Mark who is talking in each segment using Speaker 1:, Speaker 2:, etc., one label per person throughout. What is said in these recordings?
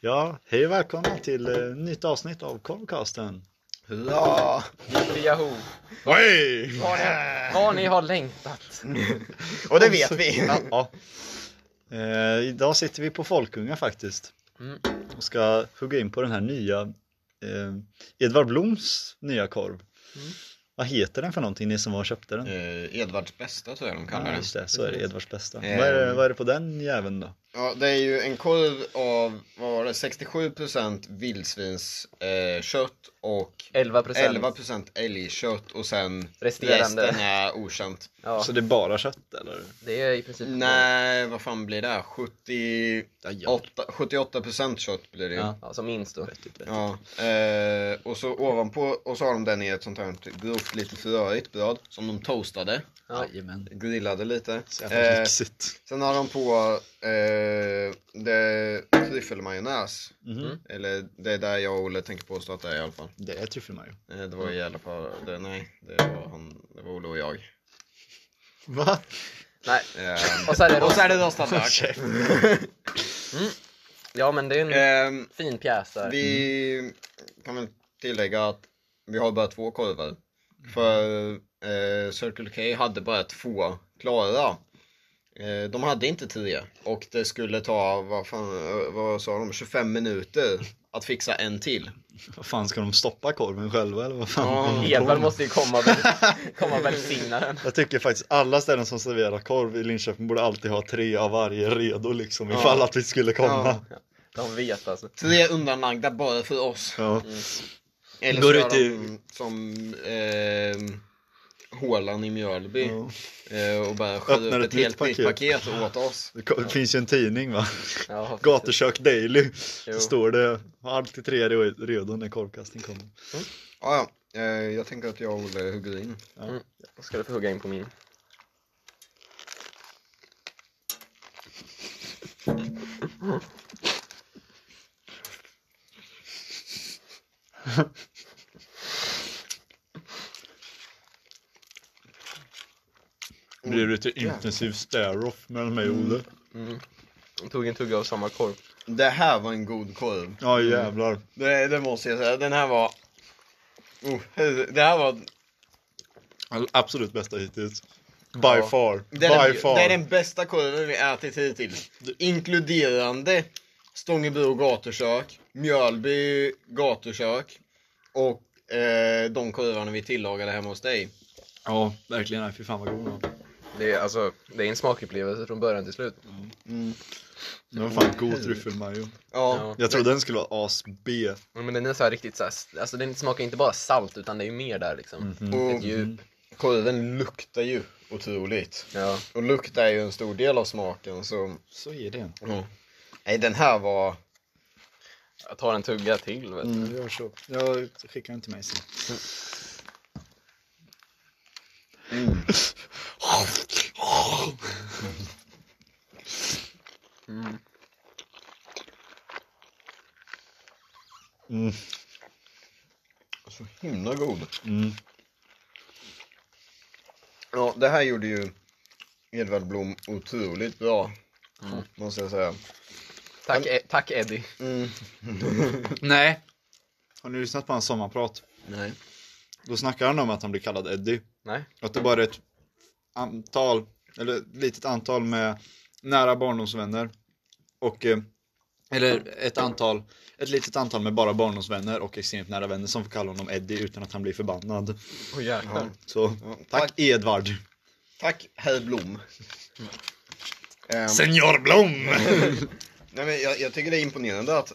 Speaker 1: Ja, hej och välkomna till eh, nytt avsnitt av Korvcasten.
Speaker 2: Hurra!
Speaker 3: Yahoo!
Speaker 1: Hej!
Speaker 3: Vad ni, vad ni har längtat!
Speaker 2: Och det vet vi.
Speaker 1: Ja, ja. Eh, idag sitter vi på Folkunga faktiskt
Speaker 3: Mm.
Speaker 1: och ska hugga in på den här nya eh, Edvard Bloms nya korv. Vad heter den för någonting, ni som var och köpte den?
Speaker 2: Eh, Edvards bästa tror jag de kallar
Speaker 1: Ja,
Speaker 2: den.
Speaker 1: just det, så är det, Edvards bästa.
Speaker 2: Eh.
Speaker 1: Vad, är det, vad är det på den jäveln då?
Speaker 2: Ja, det är ju en korv av, vad var det, 67% vildsvinskött eh, kött och
Speaker 3: 11 procent.
Speaker 2: 11% älgkött och sen
Speaker 3: Resterande.
Speaker 2: resten är okänt.
Speaker 3: Ja,
Speaker 1: Så det är bara kött eller?
Speaker 3: det är i princip
Speaker 2: Nej, vad fan blir det? 70...
Speaker 1: Ja, ja.
Speaker 2: 8, 78% kött blir det ju.
Speaker 1: Ja.
Speaker 2: Ja.
Speaker 3: Ja, som minst då.
Speaker 1: Vettigt, vettigt.
Speaker 2: eh, och så ovanpå, och så har de den i ett sånt här typ, grovt, lite rörigt bröd som de toastade,
Speaker 3: Ja.
Speaker 1: Jajamän.
Speaker 2: grillade lite.
Speaker 1: Så jävla
Speaker 2: Eh,
Speaker 1: lyxigt.
Speaker 2: Sen har de på eh, det- tryffelmajonnäs.
Speaker 1: Mhm.
Speaker 3: mm.
Speaker 2: Eller det är där jag och Olle tänker påstå att det är i alla fall.
Speaker 1: Det är tryffelmajo.
Speaker 2: Eh, det
Speaker 3: Mm.
Speaker 2: var i alla fall, det, nej, det var, han, det var Olle och jag.
Speaker 1: Va?
Speaker 3: Nej.
Speaker 2: Eh,
Speaker 3: Och så är det
Speaker 2: och så är det rostad lök.
Speaker 1: Käft.
Speaker 3: Ja, men det är en
Speaker 2: Ehm,
Speaker 3: fin pjäs där.
Speaker 2: vi kan väl tillägga att vi har bara två korvar. För eh, Circle K hade bara två klara. Eh, de hade inte tre. Och det skulle ta, vad fan, eh, vad sa de, 25 minuter att fixa en till.
Speaker 1: Vad fan, ska de stoppa korven själva eller vad fan?
Speaker 2: Ja,
Speaker 1: håller de på
Speaker 3: Edvard
Speaker 1: med?
Speaker 3: måste ju komma och väl- komma och välsigna den.
Speaker 1: Mm. Jag tycker faktiskt alla ställen som serverar korv i Linköping borde alltid ha tre av varje redo liksom
Speaker 2: Ja.
Speaker 1: ifall att vi skulle komma.
Speaker 3: De vet alltså.
Speaker 2: Tre undanlagda bara för oss.
Speaker 1: Ja.
Speaker 2: Eller
Speaker 1: Går
Speaker 2: så
Speaker 1: ut
Speaker 2: gör de
Speaker 1: i-
Speaker 2: som ehm, Hålan i Mjölby
Speaker 1: Ja.
Speaker 2: eh, och bara skär
Speaker 1: Öppnar
Speaker 2: upp
Speaker 1: ett
Speaker 2: ett helt
Speaker 1: nytt
Speaker 2: nytt paket åt oss.
Speaker 1: Det ko- finns ju en tidning va?
Speaker 3: Ja,
Speaker 1: Gatukök Daily.
Speaker 3: Jo.
Speaker 1: Så står det alltid tre re- redo när korvkastning kommer.
Speaker 2: Mm. Ja, ja. Eh, jag tänker att jag och Olle hugger in.
Speaker 3: Då ska du få hugga in på min.
Speaker 1: Blir det lite intensiv stare-off mellan mig och Olle?
Speaker 3: Jag tog en tugga av samma korv.
Speaker 2: Det här var en god korv.
Speaker 1: Ja jävlar.
Speaker 2: Det, det måste jag säga. Den här var... Oh, det här var...
Speaker 1: All- Absolut bästa hittills. By
Speaker 3: Ja.
Speaker 1: far.
Speaker 2: Det är,
Speaker 1: By
Speaker 2: den,
Speaker 1: far.
Speaker 2: det är den bästa korven vi ätit hittills. Inkluderande Stångebro gatukök, Mjölby gatukök och eh, de korvarna vi tillagade hemma hos dig.
Speaker 1: Ja, verkligen. Nej, Fy fan vad god den var.
Speaker 3: Det är, alltså, det är en smakupplevelse från början till slut.
Speaker 1: Den var fan god tryffelmajo.
Speaker 2: Ja.
Speaker 1: Jag trodde den skulle vara as-B.
Speaker 3: Ja, Men den är så här riktigt så här, alltså den smakar inte bara salt utan det är ju mer där liksom. Ett
Speaker 2: Och
Speaker 3: djup.
Speaker 2: korven luktar ju otroligt.
Speaker 3: Ja.
Speaker 2: Och lukt är ju en stor del av smaken så...
Speaker 1: Så är det.
Speaker 2: Ja. Nej den här var...
Speaker 3: Jag tar en tugga till vet du.
Speaker 1: Mm. Gör så. Jag skickar den till mig sen. Mm.
Speaker 2: Så himla god.
Speaker 1: Mm.
Speaker 2: Ja, det här gjorde ju Edvard Blom otroligt bra. Måste jag säga.
Speaker 3: Tack, e- tack Eddie.
Speaker 2: Mm.
Speaker 1: Nej. Har ni lyssnat på hans sommarprat?
Speaker 2: Nej.
Speaker 1: Då snackar han om att han blir kallad Eddie.
Speaker 3: Nej.
Speaker 1: Att det bara är ett antal, eller ett litet antal med nära barndomsvänner. Och, eh, eller ett antal, ett litet antal med bara barndomsvänner och extremt nära vänner som får kalla honom Eddie utan att han blir förbannad.
Speaker 3: Åh jäklar.
Speaker 1: Så tack,
Speaker 2: tack.
Speaker 1: Edvard.
Speaker 2: Tack herr Blom. Ehm,
Speaker 1: Senor Blom!
Speaker 2: nej, men jag, jag tycker det är imponerande att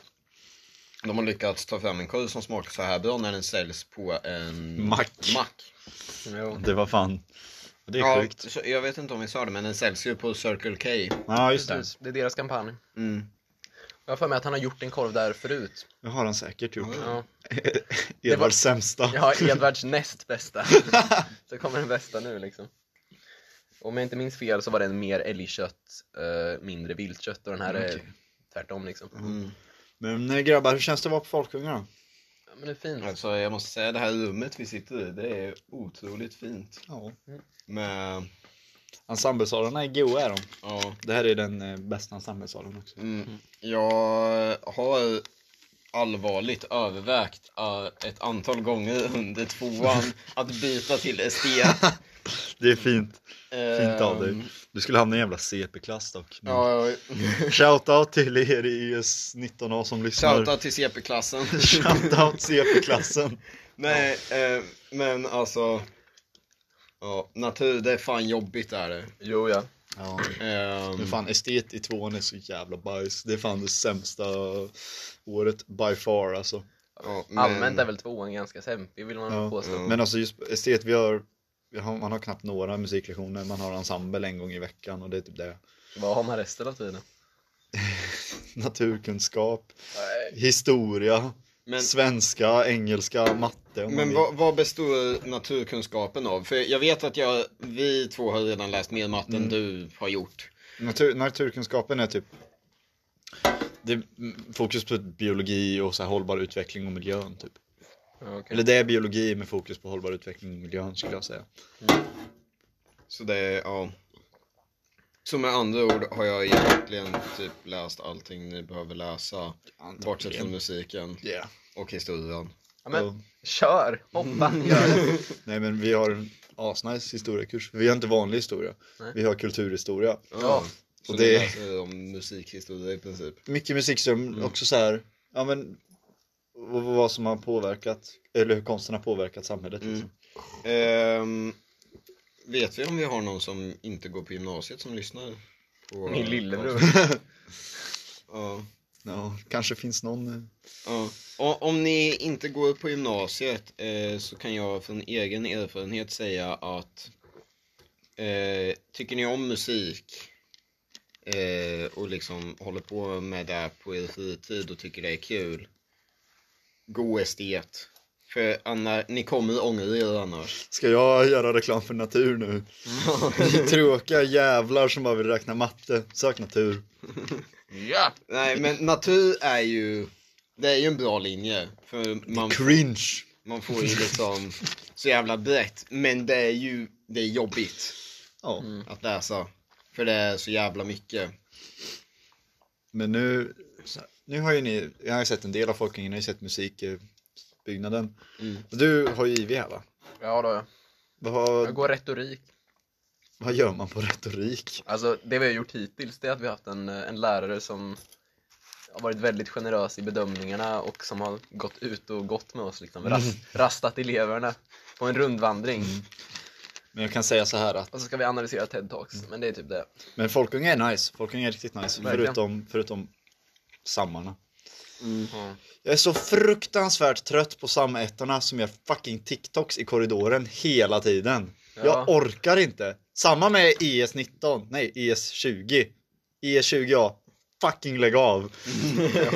Speaker 2: de har lyckats ta fram en korv som smakar så här bra när den säljs på en
Speaker 1: Mack.
Speaker 2: mack.
Speaker 3: Jo.
Speaker 1: Det var fan, det är
Speaker 2: Ja,
Speaker 1: sjukt.
Speaker 2: så, jag vet inte om vi sa det men den säljs ju på Circle K.
Speaker 1: Ja just det.
Speaker 3: Precis, det är deras kampanj.
Speaker 2: Mm.
Speaker 3: Jag har för mig att han har gjort en korv där förut.
Speaker 1: Det har han säkert gjort.
Speaker 3: Ja.
Speaker 1: Edvards
Speaker 3: var-
Speaker 1: sämsta.
Speaker 3: Jag har Edvards näst bästa. Så kommer den bästa nu liksom. Om jag inte minns fel så var den mer älgkött, eh, mindre viltkött och den här
Speaker 1: Okej.
Speaker 3: är tvärtom liksom.
Speaker 2: Mm.
Speaker 1: Men eh, grabbar, hur känns det att vara på Folkunga då?
Speaker 3: Ja, men det är fint.
Speaker 2: Alltså jag måste säga det här rummet vi sitter i, det är otroligt fint.
Speaker 1: Ja.
Speaker 2: Med
Speaker 1: Ensemblesalarna är goa är de.
Speaker 2: Ja.
Speaker 1: Det här är den eh, bästa ensemblesalen också.
Speaker 2: Mm. Jag har allvarligt övervägt eh, ett antal gånger under tvåan att byta till estet.
Speaker 1: Det är fint. Fint av
Speaker 2: Ehm,
Speaker 1: dig. Du skulle hamna i en jävla CP-klass dock.
Speaker 2: Ja,
Speaker 1: Shoutout till er i ES19A som lyssnar.
Speaker 2: shoutout till CP-klassen.
Speaker 1: Shoutout CP-klassen.
Speaker 2: Nej, eh, men alltså. Ja, natur, det är fan jobbigt Ehm, är det.
Speaker 3: Jo ja.
Speaker 1: Ja.
Speaker 2: Ehm,
Speaker 1: Men fan, estet i tvåan är så jävla bajs. Det är fan det sämsta året by far alltså.
Speaker 2: ja, men-
Speaker 3: Allmänt är väl tvåan ganska sämpig vill man
Speaker 1: Ja.
Speaker 3: påstå.
Speaker 2: Ja.
Speaker 1: Men alltså just estet, vi har, vi har, man har knappt några musiklektioner. Man har ensemble en gång i veckan och det är typ det.
Speaker 3: Vad har man resten av tiden?
Speaker 1: Naturkunskap, historia,
Speaker 2: men,
Speaker 1: svenska, engelska, matte om man
Speaker 2: men
Speaker 1: vill.
Speaker 2: vad, vad består naturkunskapen av? För jag vet att jag, vi två har redan läst mer matte
Speaker 3: Mm.
Speaker 2: än du har gjort.
Speaker 1: Natur, naturkunskapen är typ det är mm, fokus på biologi och så här hållbar utveckling och miljön typ.
Speaker 3: Ja, okej.
Speaker 1: Eller det är biologi med fokus på hållbar utveckling och miljön skulle jag säga.
Speaker 2: Så det är, ja. Så med andra ord har jag egentligen typ läst allting ni behöver läsa. Bortsett från musiken
Speaker 1: Ja.
Speaker 2: och historien.
Speaker 3: Ja, men
Speaker 1: Ja.
Speaker 3: kör! Hoppa! Gör det!
Speaker 1: Nej men vi har en asnice historiekurs. Vi har inte vanlig historia.
Speaker 3: Nej.
Speaker 1: Vi har kulturhistoria.
Speaker 3: Ja.
Speaker 2: Så
Speaker 1: Och
Speaker 2: det...
Speaker 1: det-
Speaker 2: ni läser om musikhistoria i princip.
Speaker 1: Mycket musikström, också så här, ja men vad, vad som har påverkat, eller hur konsten har påverkat samhället.
Speaker 2: Mm.
Speaker 1: Liksom.
Speaker 2: Ehm, vet vi om vi har någon som inte går på gymnasiet som lyssnar? På
Speaker 3: Min lillebror.
Speaker 2: Ja.
Speaker 1: Ja, kanske finns någon eh,
Speaker 2: ja. Och om ni inte går på gymnasiet eh, så kan jag från egen erfarenhet säga att eh, tycker ni om musik eh, och liksom håller på med det på er fritid och tycker det är kul Gå estet. För annars, ni kommer ångra er annars.
Speaker 1: Ska jag göra reklam för natur nu? Ni tråkiga jävlar som bara vill räkna matte. Sök natur.
Speaker 3: Ja!
Speaker 2: Nej men natur är ju, det är ju en bra linje. För man
Speaker 1: Cringe.
Speaker 2: Man får ju liksom så jävla brett. Men det är ju det är jobbigt
Speaker 1: Ja,
Speaker 2: att läsa. För det är så jävla mycket.
Speaker 1: men nu, så här, nu har ju ni, jag har ju sett en del av Folkungen, jag har ju sett musikbyggnaden.
Speaker 2: Mm.
Speaker 1: Du har ju IV här va?
Speaker 3: Ja då ja. Jag
Speaker 1: Vad,
Speaker 3: går retorik.
Speaker 1: vad gör man på retorik?
Speaker 3: Alltså det vi har gjort hittills det är att vi har haft en, eh, en lärare som har varit väldigt generös i bedömningarna och som har gått ut och gått med oss liksom. Rast, rastat eleverna på en rundvandring.
Speaker 1: Men jag kan säga så här att,
Speaker 3: Och så ska vi analysera TED-talks, men det är typ det.
Speaker 1: men Folkunga är nice, Folkunga är riktigt nice.
Speaker 3: Verkligen.
Speaker 1: Förutom, förutom sammarna.
Speaker 3: Mm.
Speaker 1: Jag är så fruktansvärt trött på samättorna som gör fucking TikToks i korridoren hela tiden. Jag
Speaker 3: Ja.
Speaker 1: orkar inte. Samma med ES19, nej ES20. ES20A, fucking lägg av.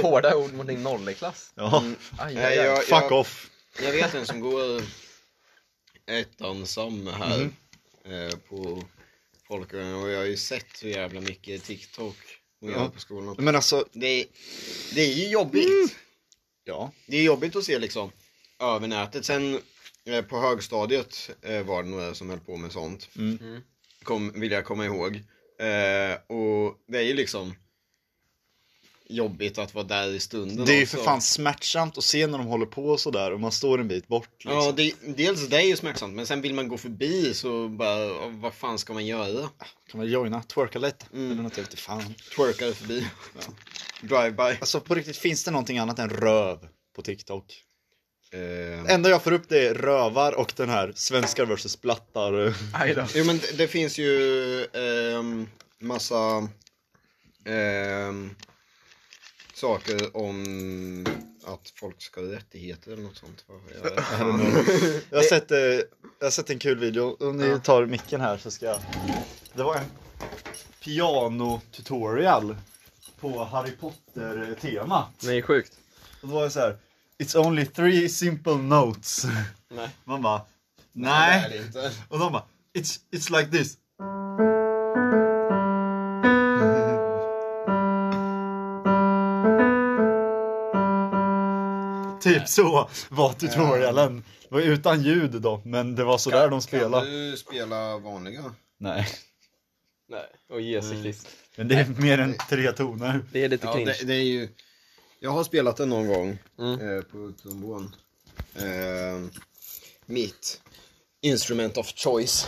Speaker 3: Hårda ord mot din nolleklass.
Speaker 1: Ja,
Speaker 3: Aj,
Speaker 2: Nej,
Speaker 3: aj, aj.
Speaker 2: jag-
Speaker 1: fuck off.
Speaker 2: Jag vet en som går ettan sam här
Speaker 1: Mhm.
Speaker 2: eh, på folkhögskolan och jag har ju sett hur jävla mycket TikTok hon gör
Speaker 1: Ja.
Speaker 2: på skolan.
Speaker 1: Men alltså,
Speaker 2: Det är, det är ju jobbigt.
Speaker 1: Mm. ja.
Speaker 2: Det är jobbigt att se liksom över nätet. Sen eh, på högstadiet eh, var det några som höll på med sånt.
Speaker 1: Mm.
Speaker 2: kom, vill jag komma ihåg. Eh, och det är ju liksom jobbigt att vara där i stunden
Speaker 1: Det är ju
Speaker 2: också.
Speaker 1: för fan smärtsamt att se när de håller på och sådär och man står en bit bort. Liksom.
Speaker 2: Ja, det, dels det är ju smärtsamt, men sen vill man gå förbi så bara, ja, vad fan ska man göra?
Speaker 1: Kan man joina, twerka lite?
Speaker 2: Mm.
Speaker 1: Eller något, jag vet inte fan.
Speaker 2: Twerka förbi. Drive-by.
Speaker 1: Alltså på riktigt, finns det någonting annat än röv på TikTok?
Speaker 2: Eh,
Speaker 1: Enda jag får upp det är rövar och den här svenskar versus blattar.
Speaker 3: Aj då.
Speaker 2: jo, men det, det finns ju ehm, massa ehm, saker om att folk ska ha rättigheter eller något sånt. Vad har jag-
Speaker 1: Jag har, sett, eh, jag har sett en kul video, om ni
Speaker 3: Ja.
Speaker 1: tar micken här så ska jag Det var en piano-tutorial på Harry Potter-tema
Speaker 3: Nej, sjukt.
Speaker 1: Och Det var det så här. It's only three simple notes
Speaker 2: Nej.
Speaker 1: Man bara
Speaker 2: Nej,
Speaker 1: Nej
Speaker 2: det är det inte.
Speaker 1: Och de bara It's, it's like this Typ så var tutorialen. Det var utan ljud då, men det var sådär de spelade.
Speaker 2: Kan du spela vanliga?
Speaker 1: Nej.
Speaker 4: Nej, och Jesus
Speaker 2: Mm.
Speaker 4: Krist.
Speaker 1: Men det är mer än tre toner.
Speaker 4: Det är lite
Speaker 2: Ja,
Speaker 4: cringe.
Speaker 2: det, det är ju... Jag har spelat den någon gång
Speaker 4: Mm.
Speaker 2: eh, på trombon. Eh, mitt instrument of choice.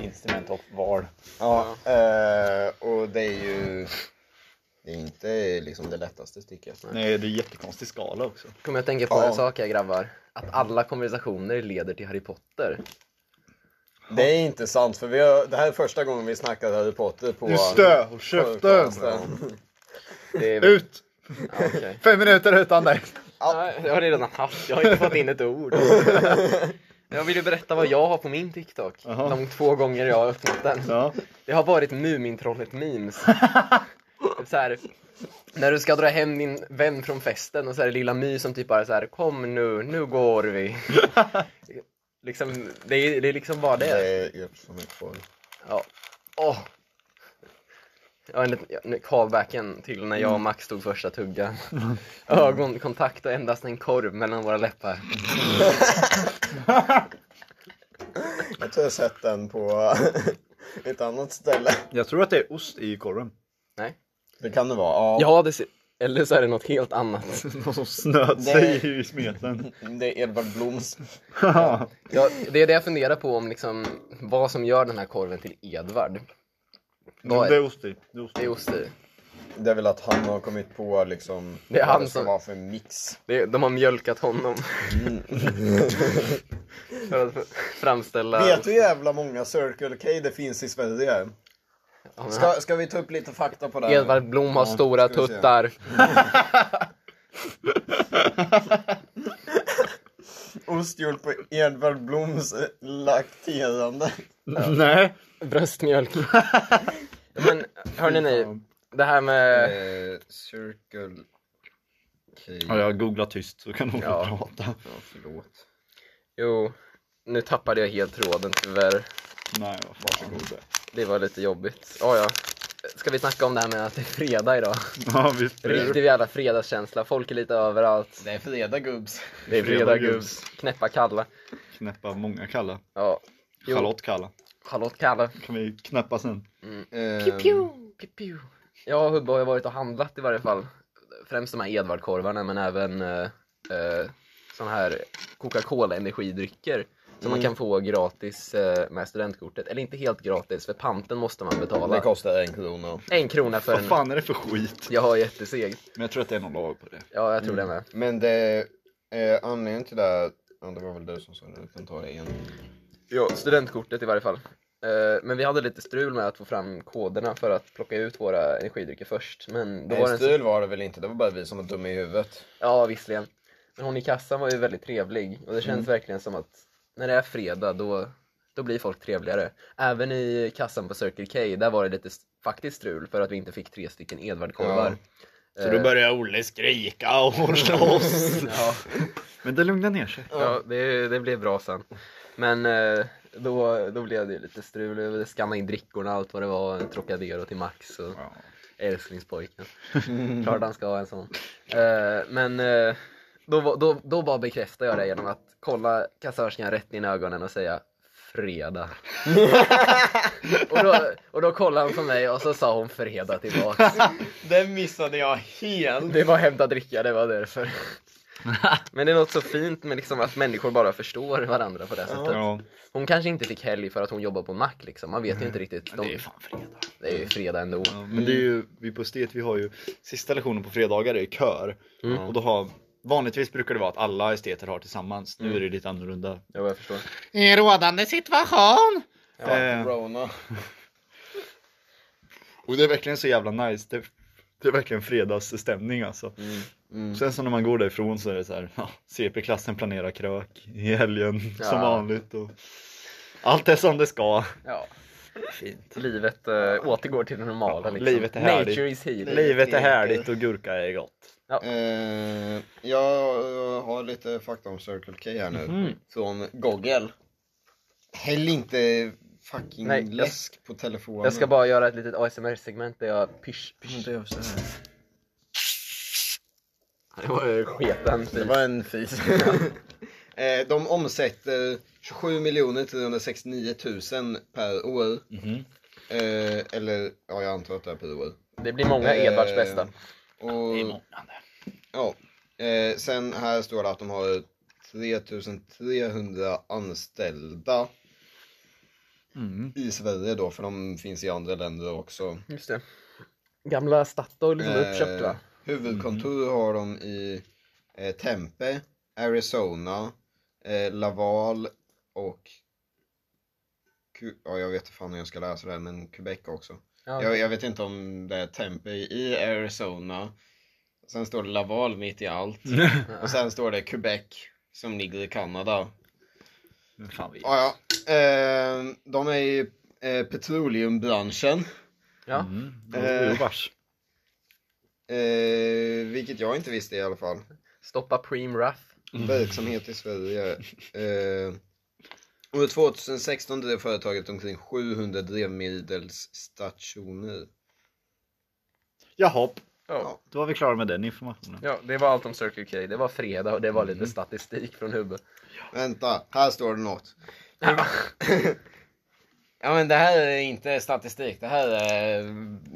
Speaker 1: Instrument och val.
Speaker 2: Ja, eh, och det är ju... Det är inte liksom det lättaste stycket.
Speaker 1: Nej, det är jättekonstig skala också.
Speaker 3: Kommer jag tänka på
Speaker 2: Ja.
Speaker 3: en sak här grabbar? Att alla konversationer leder till Harry Potter.
Speaker 2: Det är inte sant, för vi har, det här är första gången vi snackade Harry Potter på...
Speaker 5: Du stö, håll käften!
Speaker 3: Det är väl...
Speaker 5: Ut!
Speaker 3: Ja, okej.
Speaker 5: Fem minuter utan dig!
Speaker 3: Nej, det har jag redan haft, jag har inte fått in ett ord. Jag vill ju berätta vad jag har på min TikTok.
Speaker 1: Jaha.
Speaker 3: De två gånger jag har öppnat den.
Speaker 1: Ja.
Speaker 3: Det har varit Mumintrollet-memes. Typ så här, när du ska dra hem din vän från festen och så är det lilla My som typ bara så här kom nu, nu går vi. liksom, det, är, det är liksom vad det är.
Speaker 2: Det är som ett folk.
Speaker 3: Ja. Åh! Ja, en liten ja, nu- callbacken till när
Speaker 1: Mm.
Speaker 3: jag och Max tog första tuggan. Ögonkontakt och endast en korv mellan våra läppar.
Speaker 2: Jag tror jag har sett den på ett annat ställe.
Speaker 1: Jag tror att det är ost i korven.
Speaker 2: Det kan det vara. Ja,
Speaker 3: Ja, det ser... Eller så är det något helt annat.
Speaker 1: Någon som snöt sig i smeten.
Speaker 2: det är Edvard Bloms.
Speaker 3: Ja, det är det jag funderar på om liksom, vad som gör den här korven till Edvard. Vad är
Speaker 1: det är ost i. Det är ost
Speaker 3: Det är
Speaker 1: i.
Speaker 3: ost i.
Speaker 2: Det är väl att han har kommit på liksom
Speaker 3: Det är
Speaker 2: vad
Speaker 3: han
Speaker 2: det ska
Speaker 3: som-
Speaker 2: vara för mix.
Speaker 3: Det, de har mjölkat honom. för att framställa...
Speaker 2: Mm. Vet du hur jävla många Circle K det finns i Sverige?
Speaker 3: Ja, men
Speaker 2: Ska, ska vi ta upp lite fakta på det? här?
Speaker 3: Edvard Blom har stora
Speaker 2: ska vi se.
Speaker 3: tuttar.
Speaker 2: Ost gjord på Edvard Bloms eh, lakterande.
Speaker 1: Nej.
Speaker 3: Bröstmjölk. men hörni ni, det här med...
Speaker 2: Eh, Circle K.
Speaker 1: Ja, jag googlar tyst så kan hon få
Speaker 3: Ja.
Speaker 1: prata.
Speaker 2: förlåt.
Speaker 3: Jo, nu tappade jag helt tråden tyvärr.
Speaker 1: Nej, varsågod.
Speaker 3: Det var lite jobbigt. Ja, ja. Ska vi snacka om det här med att det är fredag idag?
Speaker 1: Ja, visst.
Speaker 3: Riktig jävla fredagskänsla, folk är lite överallt.
Speaker 2: Det är fredag gubbs.
Speaker 3: Det är fredag gubbs. Knäppa Kalla.
Speaker 1: Knäppa många Kalla.
Speaker 3: Ja. Jo.
Speaker 1: Charlotte Kalla.
Speaker 3: Charlotte Kalla.
Speaker 1: Kan vi knäppa sen.
Speaker 2: Ehm,
Speaker 3: Jag och Hubbe har ju varit och handlat i varje fall. Främst de här Edvardkorvarna men även eh, eh, såna här Coca-Cola energidrycker. Som man kan få gratis eh, med studentkortet. Eller inte helt gratis för panten måste man
Speaker 2: Det
Speaker 3: betala.
Speaker 2: kostar en krona.
Speaker 3: En krona för
Speaker 1: Vad
Speaker 3: en.
Speaker 1: fan är det för skit?
Speaker 3: Jag har jätteseg.
Speaker 1: Men jag tror att det är någon lag på det.
Speaker 3: Ja, jag tror
Speaker 2: Mm.
Speaker 3: det med.
Speaker 2: Men det, eh, anledningen till det, här- ja, det var väl du som sa det, jag kan ta det igen.
Speaker 3: Ja, studentkortet i varje fall. Eh, Men vi hade lite strul med att få fram koderna för att plocka ut våra energidrycker först. Men då var det
Speaker 2: Nej,
Speaker 3: en så-
Speaker 2: stul var det väl inte, det var bara vi som var dumma i huvudet.
Speaker 3: Ja, visserligen. Men hon i kassan var ju väldigt trevlig och det känns
Speaker 4: Mm.
Speaker 3: verkligen som att när det är fredag då, då blir folk trevligare. Även i kassan på Circle K, där var det lite st- faktiskt strul för att vi inte fick tre stycken Edvardkorvar. Eh,
Speaker 4: Så
Speaker 1: Eh.
Speaker 4: då börjar Olle skrika och slåss.
Speaker 3: Ja,
Speaker 1: Men det lugnar ner sig.
Speaker 3: ja det, det blev bra sen. Men eh, då, då blev det ju lite strul, Jag ville skanna in drickorna och allt vad det var, Trocadero till Max och älsklingspojken. Klart han ska ha en sån. Eh, men eh, då, var- då, då bara bekräftar jag det genom att kolla kassörskan rätt in i ögonen och säga Fredag. och, då, och då kollade hon på mig och så sa hon fredag tillbaks.
Speaker 4: Den missade jag helt.
Speaker 3: Det var hämta dricka, det var därför. Men det är något så fint med liksom att människor bara förstår varandra på det sättet.
Speaker 1: Ja.
Speaker 3: Hon kanske inte fick helg för att hon jobbar på en mack liksom. Man vet ju inte riktigt.
Speaker 4: Det är
Speaker 3: De,
Speaker 4: fan fredag.
Speaker 3: det är ju fredag ändå.
Speaker 1: Ja, men det är ju, vi på Stet, vi har ju sista lektionen på fredagar är kör.
Speaker 3: Mm.
Speaker 1: Och då har, vanligtvis brukar det vara att alla esteter har tillsammans. Nu är det lite annorlunda.
Speaker 3: Ja, jag förstår.
Speaker 4: I rådande situation.
Speaker 1: Eh,
Speaker 2: Corona.
Speaker 1: och det är verkligen så jävla nice. Det, det är verkligen fredagsstämning alltså.
Speaker 3: Mm,
Speaker 1: Sen så när man går därifrån så är det så här, ja, CP-klassen planerar krök i helgen som
Speaker 3: Ja.
Speaker 1: vanligt. Och allt är som det ska.
Speaker 3: Ja. Fint. Livet eh, återgår till det normala.
Speaker 1: Ja,
Speaker 3: Liksom.
Speaker 1: livet är härligt.
Speaker 3: Nature is healing.
Speaker 1: Livet är härligt och gurka är gott.
Speaker 2: Eh, jag har lite fakta om Circle K här nu.
Speaker 3: Mhm.
Speaker 2: Från Google. Häll inte fucking
Speaker 3: Nej, jag-
Speaker 2: läsk på telefonen.
Speaker 3: Jag ska bara göra ett litet ASMR-segment där jag pysch, pysch.
Speaker 2: Mm.
Speaker 3: Det var ju sketen
Speaker 2: Det
Speaker 3: fis.
Speaker 2: var en fis. eh, de
Speaker 1: Mm-hmm. Mm.
Speaker 2: omsätter 27 369 000 per år. Eh, eller, ja jag antar att det är POL.
Speaker 3: Det blir många Edvards
Speaker 2: Eh,
Speaker 3: bästa.
Speaker 2: Och, ja. Eh, sen här står det att de har 3300 anställda
Speaker 1: Mm.
Speaker 2: i Sverige då, för de finns i andra länder också.
Speaker 3: Just det. Gamla Statoil som blev uppköpt
Speaker 2: Eh,
Speaker 3: va?
Speaker 2: Huvudkontor har de i eh, Tempe, Arizona, eh, Laval och Ku- Ja, jag vet inte fan hur jag ska läsa det, här, men Quebec också.
Speaker 3: Ja.
Speaker 2: Jag, jag vet inte om det är Tempe i Arizona. Sen står det Laval mitt i allt. Och sen står det Quebec som ligger i Kanada.
Speaker 1: Fan, vi...
Speaker 2: Ja, ja. Eh, de är i eh, petroleumbranschen.
Speaker 3: Ja.
Speaker 1: Mm.
Speaker 2: Eh.
Speaker 1: Oh, vars.
Speaker 2: Eh, vilket jag inte visste i alla fall.
Speaker 3: Stoppa Preem Raff.
Speaker 2: verksamhet i Sverige. Eh, under 2016 drev företaget omkring 700 drivmedelsstationer.
Speaker 1: Jaha,
Speaker 3: Ja.
Speaker 1: då var vi klara med den informationen.
Speaker 3: ja, det var allt om Circle K. Det var fredag och det var lite statistik från huvudet.
Speaker 2: Vänta, här står det något. ja men det här är inte statistik, det här är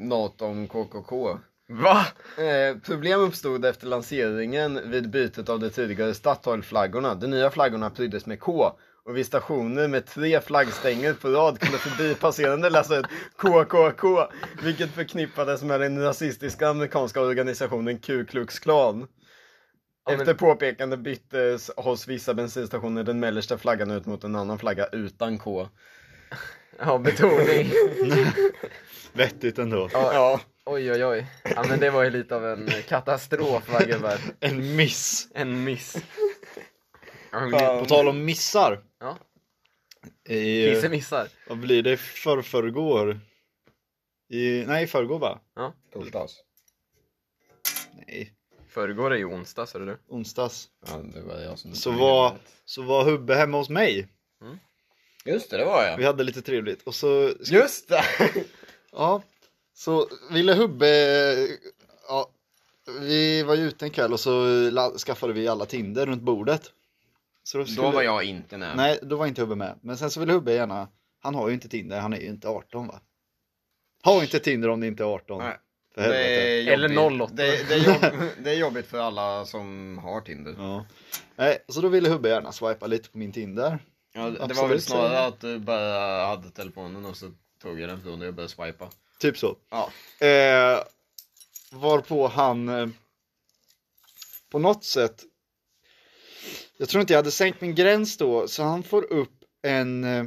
Speaker 2: något om KKK.
Speaker 3: Va?
Speaker 2: Eh, problem uppstod efter lanseringen vid bytet av de tidigare Statoil-flaggorna. De nya flaggorna pryddes med K och vid stationer med tre flaggstänger på rad kunde förbipasserande läsa ut KKK, vilket förknippades med den rasistiska amerikanska organisationen Ku Klux Klan.
Speaker 3: Ja, men-
Speaker 2: Efter påpekande byttes hos vissa bensinstationer den mellersta flaggan ut mot en annan flagga utan K.
Speaker 3: Ja, betoning.
Speaker 1: Vettigt ändå.
Speaker 2: Ja.
Speaker 3: Oj, oj, oj. Ja, men det var ju lite av en katastrof va gubbar?
Speaker 1: En miss.
Speaker 3: En miss. Ja, men
Speaker 2: Fan.
Speaker 1: På tal om missar.
Speaker 3: Ja.
Speaker 1: I,
Speaker 3: Kisse missar.
Speaker 1: vad blir det, för förrgår? I, nej, i förrgår va?
Speaker 2: Torsdags.
Speaker 1: Nej,
Speaker 3: Förrgår är ju onsdag, hörde du.
Speaker 1: onsdags.
Speaker 2: Ja, det var jag som...
Speaker 1: Så var, så var Hubbe hemma hos mig.
Speaker 2: Just det, det var jag.
Speaker 1: Vi hade lite trevligt. Och så
Speaker 2: Just det!
Speaker 1: Ja, så ville Hubbe... Ja, vi var ju ute en kväll och så la- skaffade vi alla Tinder runt bordet. Så
Speaker 2: Då var jag inte nära.
Speaker 1: Nej, då var inte Hubbe med. Men sen så ville Hubbe gärna... Han har ju inte Tinder, han är ju inte 18 va? Ha inte Tinder om ni inte är 18.
Speaker 2: Nej.
Speaker 1: För helvete.
Speaker 2: är
Speaker 3: Eller
Speaker 2: jobbigt.
Speaker 3: 08.
Speaker 2: Det, det, är jobb, det är jobbigt för alla som har Tinder.
Speaker 1: Ja. Nej, så då ville Hubbe gärna swipa lite på min Tinder.
Speaker 2: Ja, det var
Speaker 1: Absolut, säger
Speaker 2: väl snarare
Speaker 1: jag.
Speaker 2: att du bara hade telefonen och så tog jag den från dig och började swipa.
Speaker 1: Typ så.
Speaker 2: Ja.
Speaker 1: Eh, varpå han eh, på något sätt, jag tror inte jag hade sänkt min gräns då, så han får upp en eh,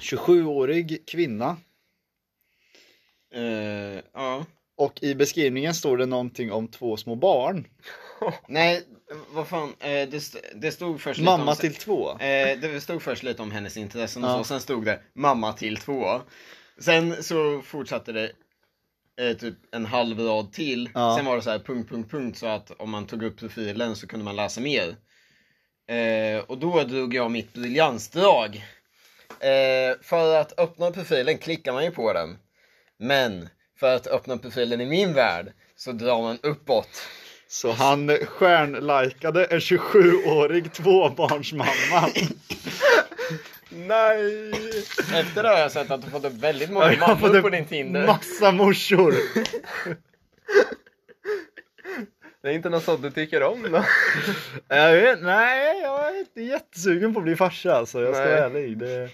Speaker 1: 27-årig kvinna
Speaker 2: Eh, ja.
Speaker 1: och i beskrivningen står det någonting om två små barn.
Speaker 2: Nej, vad fan. Eh, det, st- det stod först lite
Speaker 1: Mamma
Speaker 2: om,
Speaker 1: till två.
Speaker 2: Eh, det stod först lite om hennes intressen och
Speaker 1: Ja.
Speaker 2: så, sen stod det mamma till två. Sen så fortsatte det eh, typ en halv rad till.
Speaker 1: Ja.
Speaker 2: Sen var det så här punkt, punkt, punkt så att om man tog upp profilen så kunde man läsa mer. Eh, och då drog jag mitt briljansdrag. Eh, för att öppna profilen klickar man ju på den. Men för att öppna profilen i min värld så drar man uppåt.
Speaker 1: Så han eh, stjärnlikade en 27-årig tvåbarnsmamma.
Speaker 2: Nej! Efter det har jag sett att du fått upp väldigt
Speaker 1: Ja,
Speaker 2: många
Speaker 1: jag har fått
Speaker 2: mammor
Speaker 1: upp
Speaker 2: på din Tinder.
Speaker 1: Massa morsor.
Speaker 3: Det är inte något sånt du tycker om då?
Speaker 1: Jag vet, nej, jag är inte jättesugen på att bli farsa alltså, jag ska
Speaker 3: Nej.
Speaker 1: vara ärlig. Det...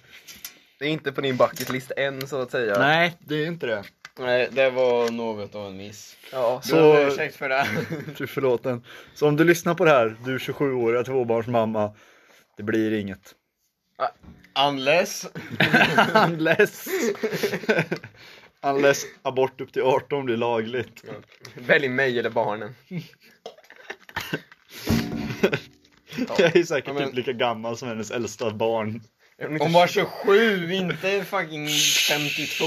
Speaker 3: Det är inte på din bucket list än, så att säga.
Speaker 1: Nej, det är inte det.
Speaker 2: Nej, det var något av en miss.
Speaker 3: Ja,
Speaker 1: Så-
Speaker 2: Så... Du har ursäkt för det.
Speaker 1: Du, Förlåt en. Så om du lyssnar på det här, du 27-åriga tvåbarnsmamma. Det blir inget.
Speaker 2: Unless...
Speaker 1: Unless... Unless abort upp till 18 blir lagligt.
Speaker 3: välj mig eller barnen.
Speaker 1: Jag är säkert
Speaker 2: Ja, men-
Speaker 1: typ lika gammal som hennes äldsta barn.
Speaker 3: Är de inte-
Speaker 2: Hon var 27, inte fucking 52.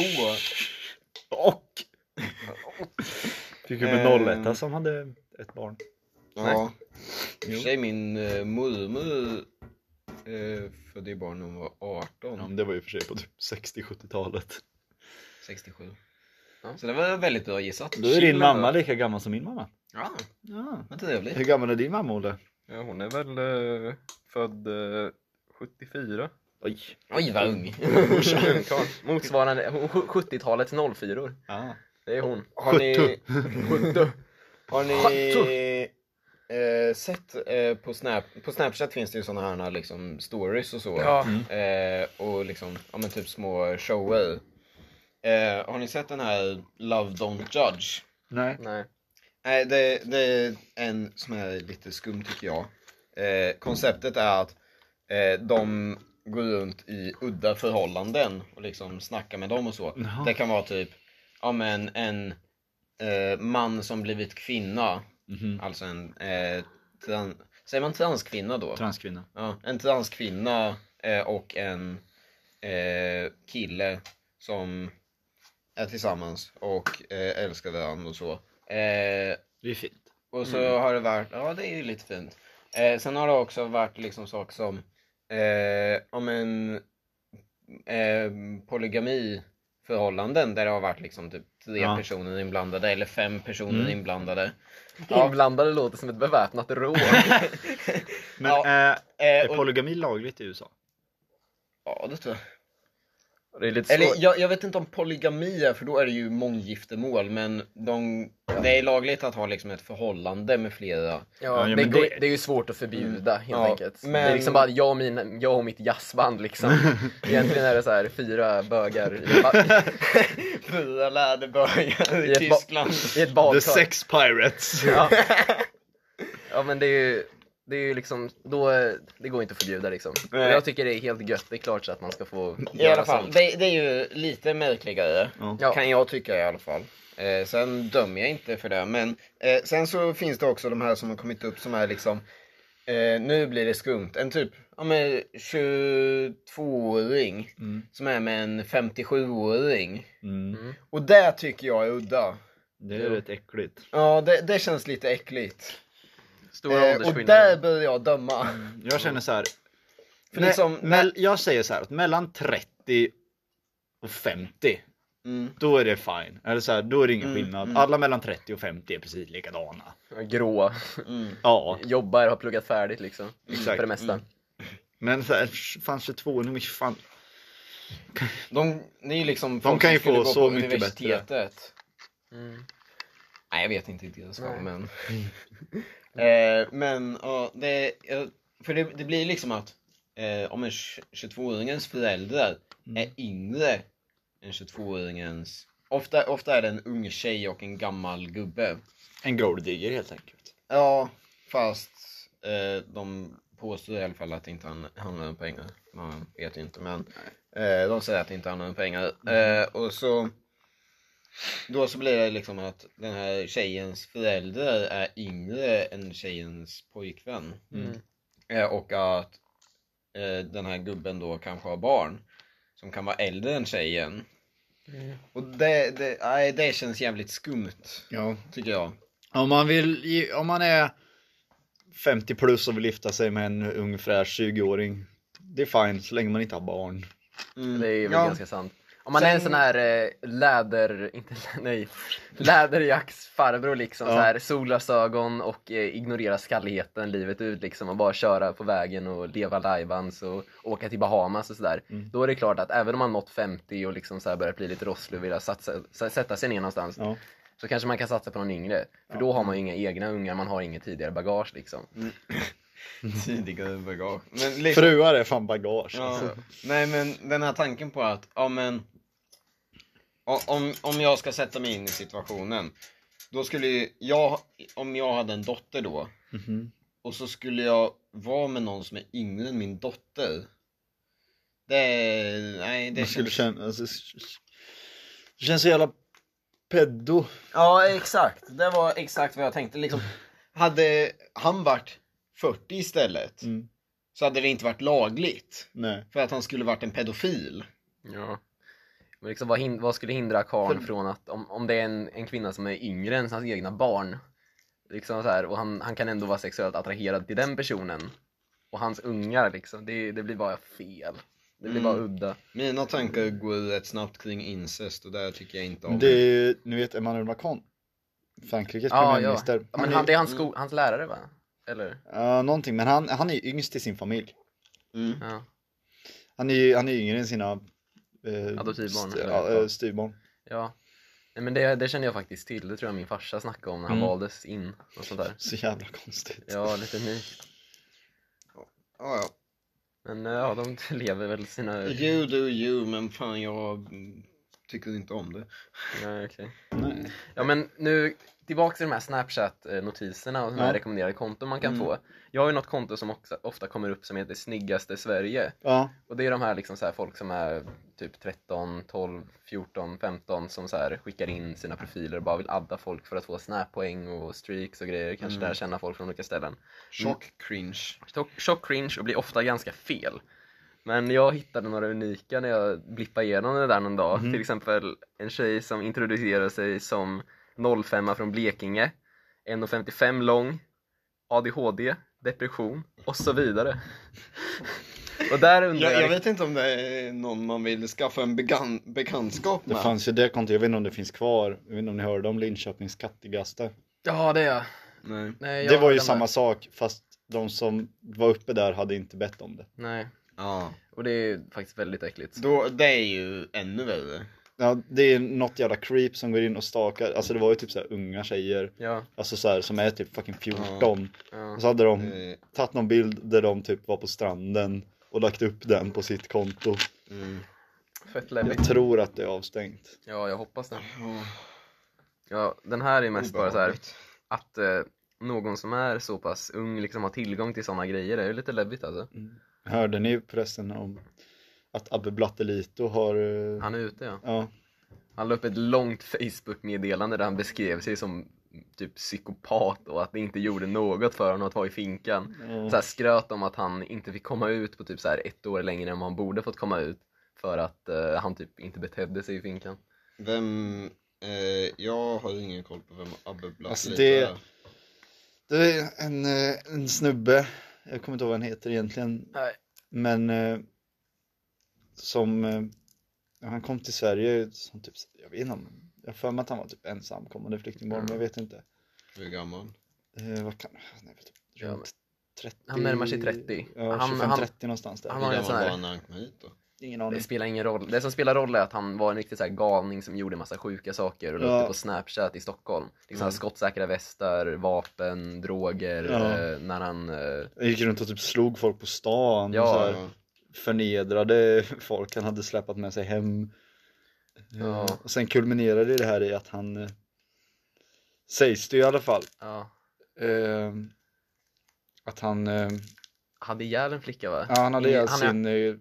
Speaker 1: Och... Eh. Fick ju
Speaker 2: Ehm.
Speaker 1: med 01 som hade ett barn.
Speaker 2: Ja. I och
Speaker 1: Jo.
Speaker 2: för sig min eh, mormor eh, födde ju barn när hon var 18.
Speaker 1: Ja, men det var ju för sig på typ 60-70-talet.
Speaker 2: 67.
Speaker 3: Ja.
Speaker 2: Så det var väldigt bra gissat.
Speaker 1: Då är din
Speaker 3: Chillen,
Speaker 1: mamma
Speaker 3: va?
Speaker 1: lika gammal som min mamma.
Speaker 2: Ja,
Speaker 1: Ja.
Speaker 2: vad trevligt.
Speaker 1: Hur gammal är din mamma Olle?
Speaker 3: Ja, hon är väl eh, född eh, 74?
Speaker 2: Oj. Oj vad ung.
Speaker 3: Motsvarande hon- sj- 70-talets 04
Speaker 1: Ja.
Speaker 3: Det är hon.
Speaker 2: Har ni... Har ni eh, sett eh, på, Snap, på Snapchat finns det ju sådana här liksom stories och så.
Speaker 5: Ja.
Speaker 2: Eh, och liksom, ja men typ små shower. Eh, har ni sett den här Love Don't Judge?
Speaker 1: Nej.
Speaker 3: Nej.
Speaker 2: Nej, det, det är en som är lite skum tycker jag. Eh, konceptet är att eh, de går runt i udda förhållanden och liksom snackar med dem och så.
Speaker 1: Jaha.
Speaker 2: Det kan vara typ, ja men en eh, man som blivit kvinna,
Speaker 1: Mhm.
Speaker 2: alltså en, eh, tran- säger man transkvinna då?
Speaker 1: Transkvinna.
Speaker 2: Ja, en transkvinna eh, och en eh, kille som är tillsammans och eh, älskar varandra och så. Eh,
Speaker 1: Det är fint.
Speaker 2: och så
Speaker 1: Mm.
Speaker 2: har det varit, ja det är ju lite fint. Eh, sen har det också varit liksom saker som, eh, om en eh, polygamiförhållanden där det har varit liksom typ tre
Speaker 1: Ja.
Speaker 2: personer inblandade eller fem personer
Speaker 1: Mm.
Speaker 2: inblandade.
Speaker 3: Inblandade låter som ett beväpnat rån.
Speaker 1: Men
Speaker 2: Ja.
Speaker 1: eh,
Speaker 2: Eh,
Speaker 1: är
Speaker 2: och,
Speaker 1: polygami lagligt i USA?
Speaker 2: ja, det tror jag.
Speaker 3: Det är lite
Speaker 2: Eller
Speaker 3: svårt.
Speaker 2: jag, jag vet inte om polygami är, för då är det ju månggiftermål, men de, det är lagligt att ha liksom ett förhållande med flera.
Speaker 1: Ja,
Speaker 3: Ja,
Speaker 1: ja,
Speaker 3: det,
Speaker 1: men
Speaker 3: går,
Speaker 1: det-
Speaker 3: det är ju svårt att förbjuda helt
Speaker 2: Mm. Ja,
Speaker 3: enkelt. Det
Speaker 2: men-
Speaker 3: är liksom bara jag och, mina, jag och mitt jazzband liksom. Egentligen är det så här fyra bögar i, ett ba-
Speaker 2: Fyra läderbögar
Speaker 3: I ett ba- i ett badkar.
Speaker 1: The Sex Pirates.
Speaker 3: Ja. ja men det är ju, det är ju liksom, då, eh, det går inte att förbjuda liksom. Men
Speaker 2: Nej.
Speaker 3: Jag tycker det är helt gött, det är klart så att man ska få
Speaker 2: I alla fall, det, det är ju lite märkligare.
Speaker 1: Ja.
Speaker 3: Ja.
Speaker 2: Kan jag tycka i alla fall. Eh, sen dömer jag inte för det. Men eh, sen så finns det också de här som har kommit upp som är liksom eh, Nu blir det skumt. En typ ja, men 22-åring
Speaker 1: Mm.
Speaker 2: som är med en 57-åring.
Speaker 1: Mm.
Speaker 2: Och det tycker jag är udda.
Speaker 1: Det är rätt äckligt.
Speaker 2: Ja, det, det känns lite äckligt.
Speaker 3: stora
Speaker 2: Eh, och
Speaker 3: åldersskillnader. Mm.
Speaker 2: där börjar jag döma.
Speaker 1: Jag känner så här.
Speaker 2: För
Speaker 1: Nej,
Speaker 2: liksom,
Speaker 1: mell- jag säger så här att mellan 30 och 50
Speaker 2: Mm.
Speaker 1: då är det fine. Eller så här, då är det ingen
Speaker 2: Mm,
Speaker 1: skillnad.
Speaker 2: mm.
Speaker 1: Alla mellan 30 och 50 är precis likadana.
Speaker 3: Gråa,
Speaker 2: Mm.
Speaker 1: Ja,
Speaker 3: jobbar, har pluggat färdigt liksom.
Speaker 1: Exakt.
Speaker 3: För det mesta.
Speaker 1: men så här, fan 22, nu är fan.
Speaker 2: De, det är ju liksom folk
Speaker 1: kan
Speaker 2: som
Speaker 1: ju
Speaker 2: skulle
Speaker 1: få
Speaker 2: gå
Speaker 1: så
Speaker 2: på
Speaker 1: mycket bättre.
Speaker 2: universitetet.
Speaker 3: Mm.
Speaker 2: Nej jag vet inte riktigt vad
Speaker 3: Nej.
Speaker 2: men. eh, men ja, det, eh, för det, det blir liksom att eh, om en tj- 22-åringens föräldrar
Speaker 3: Mm.
Speaker 2: är yngre än 22-åringens ofta, ofta är det en ung tjej och en gammal gubbe.
Speaker 1: En golddigger helt enkelt.
Speaker 2: Ja, fast eh, de påstår i alla fall att det inte han- handlar om pengar. Man vet ju inte, men eh, de säger att det inte handlar om pengar.
Speaker 3: Mm.
Speaker 2: Eh, och så då så blir det liksom att den här tjejens föräldrar är yngre än tjejens pojkvän.
Speaker 3: Mm.
Speaker 2: Eh, och att eh, den här gubben då kanske har barn som kan vara äldre än tjejen.
Speaker 3: Mm.
Speaker 2: Och det, det, nej, det känns jävligt skumt,
Speaker 1: Ja.
Speaker 2: tycker jag.
Speaker 1: Om man vill, ge- om man är 50 plus och vill gifta sig med en ung fräsch 20-åring. Det är fine så länge man inte har barn.
Speaker 2: Mm.
Speaker 3: Det är ju väl
Speaker 2: Ja.
Speaker 3: ganska sant. Om man
Speaker 2: Sen-
Speaker 3: är en sån här eh, läder, inte lä- nej, läderjacksfarbror liksom
Speaker 1: Ja.
Speaker 3: så här, solglasögon och eh, ignorera skalligheten livet ut liksom och bara köra på vägen och leva lajbans och åka till Bahamas och sådär.
Speaker 1: Mm.
Speaker 3: Då är det klart att även om man nått 50 och liksom så här börjat bli lite rosslig och vilja satsa, s- sätta sig ner någonstans
Speaker 1: Ja.
Speaker 3: så kanske man kan satsa på någon yngre. För då har man ju inga egna ungar, man har inget tidigare bagage liksom.
Speaker 1: Mm.
Speaker 2: tidigare bagage. Mm. Men liksom,
Speaker 1: Fruar är fan bagage.
Speaker 2: ja,
Speaker 1: Alltså.
Speaker 2: nej men den här tanken på att, ja men o- om, om jag ska sätta mig in i situationen Då skulle ju jag, om jag hade en dotter då
Speaker 1: Mhm.
Speaker 2: Och så skulle jag vara med någon som är yngre än min dotter Det, är- nej det
Speaker 1: Man skulle
Speaker 2: känns...
Speaker 1: känna, alltså, det känns så jävla peddo.
Speaker 2: Ja exakt, det var exakt vad jag tänkte liksom Hade han varit 40 istället
Speaker 1: Mm.
Speaker 2: Så hade det inte varit lagligt
Speaker 1: Nej.
Speaker 2: För att han skulle varit en pedofil
Speaker 3: Ja. Men liksom, vad, hin- vad skulle hindra karln
Speaker 2: För-
Speaker 3: från att, om, om det är en, en kvinna som är yngre än hans egna barn, liksom så här, och han, han kan ändå vara sexuellt attraherad till den personen, och hans ungar liksom, det, det blir bara fel. Det blir
Speaker 2: Mm.
Speaker 3: bara udda.
Speaker 2: Mina tankar går rätt snabbt kring incest och det tycker jag inte om.
Speaker 1: Det är ju, ni vet Emmanuel Macron. Frankrikes
Speaker 3: Ja,
Speaker 1: premiärminister.
Speaker 3: Ja, men
Speaker 1: är-
Speaker 3: han, det är hans, sko- hans lärare va? Eller?
Speaker 1: Ja, någonting, men han, han är ju yngst i sin familj.
Speaker 2: Mm.
Speaker 3: Ja.
Speaker 1: Han är ju han är yngre än sina eh,
Speaker 3: Adoptivbarn,
Speaker 1: st-
Speaker 3: eller?
Speaker 1: ja, eh, styvbarn.
Speaker 3: Ja. Nej, men det, det känner jag faktiskt till. Det tror jag min farsa snackade om när han
Speaker 1: Mm.
Speaker 3: valdes in och sånt där.
Speaker 1: Så jävla konstigt.
Speaker 3: Ja, lite ny.
Speaker 2: Ja, ja.
Speaker 3: Men eh, ja, de lever väl sina...
Speaker 2: You do you, men fan jag mm, tycker inte om det.
Speaker 3: Nej, okej.
Speaker 1: Nej.
Speaker 3: Ja, men nu tillbaka till de här Snapchat-notiserna och de här
Speaker 1: Ja.
Speaker 3: rekommenderade konton man kan
Speaker 1: Mm.
Speaker 3: få. Jag har ju något konto som också, ofta kommer upp som heter Snyggaste Sverige.
Speaker 1: Ja,
Speaker 3: Och det är de här, liksom så här folk som är typ 13, 12, 14, 15 som så här skickar in sina profiler och bara vill adda folk för att få snappoäng och streaks och grejer. Kanske
Speaker 1: Mm.
Speaker 3: lära känna folk från olika ställen.
Speaker 2: Chock cringe.
Speaker 3: Tjock- Tjock cringe och blir ofta ganska fel. Men jag hittade några unika när jag blippade igenom det där någon dag.
Speaker 1: Mm.
Speaker 3: Till exempel en tjej som introducerar sig som 05 från Blekinge, 1,55 lång, ADHD, depression och så vidare. och där undrar
Speaker 2: Jag,
Speaker 3: jag,
Speaker 2: jag vet inte om det är någon man vill skaffa en began- bekantskap
Speaker 1: det
Speaker 2: med.
Speaker 1: fanns ju det kontot. Jag vet inte om det finns kår. Jag vet inte om ni hörde om Linköpings kattigaste.
Speaker 3: Ja, det är jag.
Speaker 2: Nej.
Speaker 3: Nej, jag
Speaker 1: Det var
Speaker 3: har
Speaker 1: ju
Speaker 3: den
Speaker 1: samma
Speaker 3: där.
Speaker 1: sak fast de som var uppe där hade inte bett om det.
Speaker 3: Nej,
Speaker 2: Ja.
Speaker 3: och det är faktiskt väldigt äckligt.
Speaker 2: Då, det är ju ännu värre.
Speaker 1: Ja, det är något jävla creep som går in och stakar. Alltså det var ju typ så här unga tjejer.
Speaker 3: Ja,
Speaker 1: Alltså så här, som är typ fucking 14.
Speaker 3: ja.
Speaker 1: Och så hade de
Speaker 2: Eh,
Speaker 1: tagit någon bild där de typ var på stranden och lagt upp den på sitt konto.
Speaker 2: Mm.
Speaker 3: fett
Speaker 1: Jag
Speaker 3: läbbigt.
Speaker 1: tror att det är avstängt.
Speaker 3: Ja, jag hoppas det.
Speaker 2: Ja,
Speaker 3: Ja, den här är mest bara så här.
Speaker 2: obehagligt.
Speaker 3: att eh, någon som är så pass ung liksom har tillgång till sådana grejer, det är ju lite läbbigt alltså.
Speaker 1: Hörde ni förresten om att Abbe Blattelito har... eh,
Speaker 3: Han är ute ja.
Speaker 1: Ja,
Speaker 3: Han la upp ett långt Facebook-meddelande där han beskrev sig som typ psykopat och att det inte gjorde något för honom att vara i finkan.
Speaker 1: ja.
Speaker 3: Så här skröt om att han inte fick komma ut på typ så här ett år längre än vad han borde fått komma ut. För att eh, han typ inte betedde sig i finkan.
Speaker 2: Vem... Eh, jag har ingen koll på vem Abbe Blatt
Speaker 1: Alltså,
Speaker 2: Lite
Speaker 1: det-
Speaker 2: är.
Speaker 1: Det är en, eh, en snubbe, jag kommer inte ihåg vad han heter egentligen.
Speaker 3: Nej.
Speaker 1: Men eh, som, eh, när han kom till Sverige som typ, jag vet inte om, jag har för mig att han var typ ensamkommande flyktingbarn, men jag vet inte.
Speaker 2: Hur gammal?
Speaker 1: Eh, vad kan, nej, vet du,
Speaker 3: Ja, men-
Speaker 1: runt 30?
Speaker 3: Han närmar sig 30.
Speaker 1: Ja,
Speaker 3: Han-
Speaker 1: 25-30
Speaker 3: han-
Speaker 1: någonstans där.
Speaker 3: han
Speaker 2: Hur
Speaker 3: var en
Speaker 2: gammal
Speaker 3: sån här-
Speaker 2: var han när han kom hit då?
Speaker 1: Ingen
Speaker 3: Det
Speaker 1: aning.
Speaker 3: spelar ingen roll. Det som spelar roll är att han var en riktig så här galning som gjorde massa sjuka saker och la upp
Speaker 1: Ja.
Speaker 3: det på Snapchat i Stockholm. Liksom mm. skottsäkra västar, vapen, droger,
Speaker 1: Ja.
Speaker 3: eh, när han... Eh,
Speaker 1: Han gick runt och typ slog folk på stan.
Speaker 3: Ja.
Speaker 1: Och så här, förnedrade folk han hade släpat med sig hem. Eh,
Speaker 3: Ja.
Speaker 1: Och sen kulminerade det här i att han, eh, sägs det ju i alla fall,
Speaker 3: ja,
Speaker 1: eh, att han, eh,
Speaker 3: hade ihjäl en flicka va?
Speaker 1: ja, han hade
Speaker 3: I-
Speaker 1: ihjäl
Speaker 3: han-
Speaker 1: sin, eh,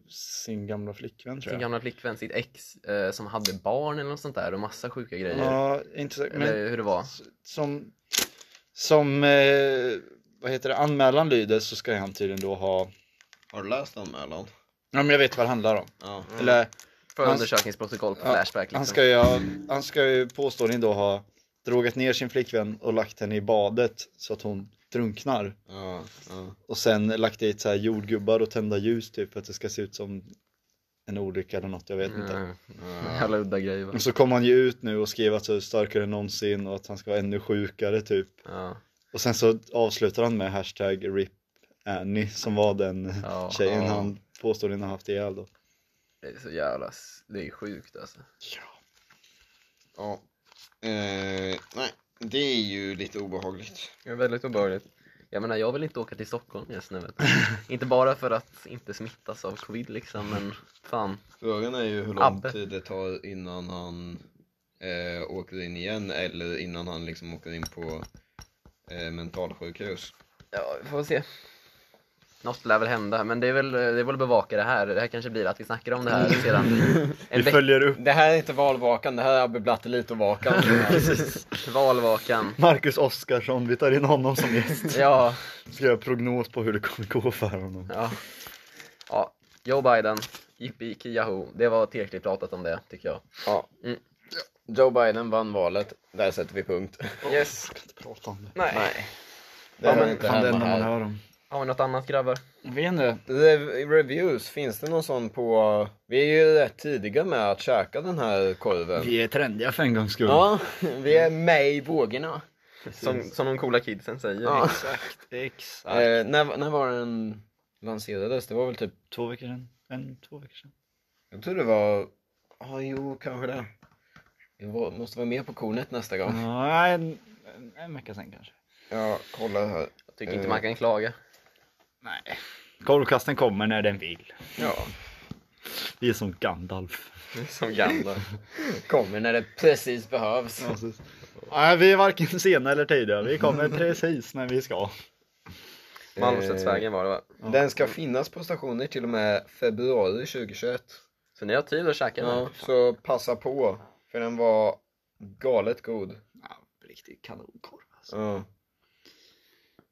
Speaker 1: sin gamla flickvän tror
Speaker 3: Sin
Speaker 1: jag.
Speaker 3: gamla flickvän, sitt ex, eh, som hade barn eller något sånt där och massa sjuka grejer.
Speaker 1: Ja, inte så, men
Speaker 3: Eller hur det var.
Speaker 1: s- som, som eh, vad heter det, anmälan lyder så ska han tydligen då ha,
Speaker 2: Har du läst anmälan?
Speaker 1: ja men jag vet vad det handlar om.
Speaker 2: Ja.
Speaker 1: Eller
Speaker 3: Förundersökningsprotokoll på
Speaker 1: Ja,
Speaker 3: Mm. Flashback liksom.
Speaker 1: han ska ju, ha- han ska ju påståeligen då ha drogat ner sin flickvän och lagt henne i badet så att hon drunknar.
Speaker 2: Ja, ja.
Speaker 1: Och sen lagt dit så här jordgubbar och tända ljus typ för att det ska se ut som en olycka eller något, jag vet inte.
Speaker 3: Mm. Jävla udda grej va?
Speaker 1: Och så kom han ju ut nu och skrev att så är starkare än någonsin och att han ska vara ännu sjukare typ.
Speaker 3: Ja.
Speaker 1: Och sen så avslutar han med hashtag RIP Annie som var den
Speaker 3: Ja,
Speaker 1: tjejen
Speaker 2: ja.
Speaker 1: han påståeligen har haft ihjäl då.
Speaker 3: Det är så jävla... s- Det är sjukt alltså.
Speaker 2: ja. Eh, nej, det är ju lite obehagligt.
Speaker 3: Det är väldigt obehagligt. Jag menar, jag vill inte åka till Stockholm just nu. Vet du. inte bara för att inte smittas av covid liksom, men fan.
Speaker 2: Frågan är ju hur lång
Speaker 3: Abbe.
Speaker 2: tid det tar innan han eh, åker in igen eller innan han liksom åker in på eh, mentalsjukhus.
Speaker 3: Ja, vi får se. Något lär väl hända, men det är väl, det är väl att bevaka det här. Det här kanske blir att vi snackar om det här sedan en
Speaker 1: Vi
Speaker 3: vecka.
Speaker 1: följer upp
Speaker 2: Det här är inte valvakan, det här är Abbe Blattelito-vakan.
Speaker 3: Valvakan.
Speaker 1: Marcus Oskarsson, vi tar in honom som gäst.
Speaker 3: Ja,
Speaker 1: Ska göra prognos på hur det kommer gå för honom.
Speaker 3: ja. Ja, Joe Biden. Yippee ki yahoo. Det var tillräckligt pratat om det, tycker jag.
Speaker 2: ja.
Speaker 3: Mm.
Speaker 2: Joe Biden vann valet, där sätter vi punkt.
Speaker 3: Yes.
Speaker 1: Jag kan inte prata om det.
Speaker 3: Nej.
Speaker 2: Det hör
Speaker 1: men
Speaker 2: inte
Speaker 1: fan, det
Speaker 2: hemma
Speaker 1: enda man
Speaker 2: här.
Speaker 1: hör om.
Speaker 3: Har vi något annat grabbar?
Speaker 1: Vet inte.
Speaker 2: Rev- Reviews, finns det någon sån på... Vi är ju rätt tidiga med att käka den här korven.
Speaker 1: Vi är trendiga för en gångs skull.
Speaker 2: Ja, vi är med i vågorna.
Speaker 3: Som, som de coola kidsen säger.
Speaker 2: Ja.
Speaker 1: Exakt.
Speaker 2: Eh, när, när var den lanserades? Det var väl typ
Speaker 1: Två veckor sedan. en, två veckor sedan.
Speaker 2: Jag tror det var... Ja, jo, kanske det. Jag var, måste vara med på kornet nästa gång.
Speaker 1: Ja, en, en, en vecka sedan kanske.
Speaker 2: Jag kollar här.
Speaker 3: Jag tycker inte man kan klaga.
Speaker 1: Nej. Korvkasten kommer när den vill.
Speaker 2: Ja,
Speaker 1: Vi är som Gandalf.
Speaker 3: Som gamla.
Speaker 2: kommer när det precis behövs.
Speaker 1: Nej, vi är varken sena eller tidiga. Vi kommer precis när vi ska.
Speaker 3: Malmslättsvägen var det va?
Speaker 2: Den ska finnas på stationer till och med februari 2021.
Speaker 3: Så ni har tid att käka
Speaker 2: Ja,
Speaker 3: nu?
Speaker 2: så passa på, för den var galet god.
Speaker 1: Riktig kanonkorv. alltså.
Speaker 2: Ja.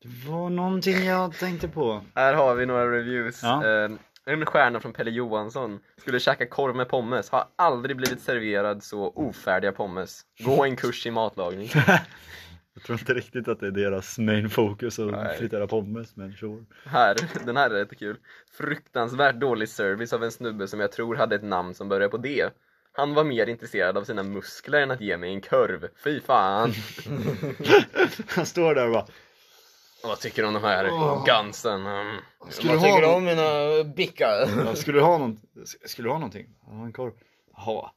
Speaker 1: Det var någonting jag tänkte på.
Speaker 3: Här har vi några reviews.
Speaker 1: Ja.
Speaker 3: Eh, En stjärna från Pelle Johansson. Skulle käka korv med pommes. Har aldrig blivit serverad så ofärdiga pommes. Gå en kurs i matlagning.
Speaker 1: Jag tror inte riktigt att det är deras main focus att
Speaker 3: Nej.
Speaker 1: fritera pommes, men sure.
Speaker 3: Här, den här är rätt kul. Fruktansvärt dålig service av en snubbe som jag tror hade ett namn som började på D. Han var mer intresserad av sina muskler än att ge mig en korv. Fy fan!
Speaker 1: Han står där och bara
Speaker 3: Vad tycker du om de här gansen? Mm.
Speaker 1: Skulle
Speaker 2: Vad
Speaker 1: du ha
Speaker 2: tycker du
Speaker 1: någon-
Speaker 2: om mina bickar?
Speaker 1: Ja, Skulle du ha någon... Skulle du ha någonting? Jag har en korv. Jaha.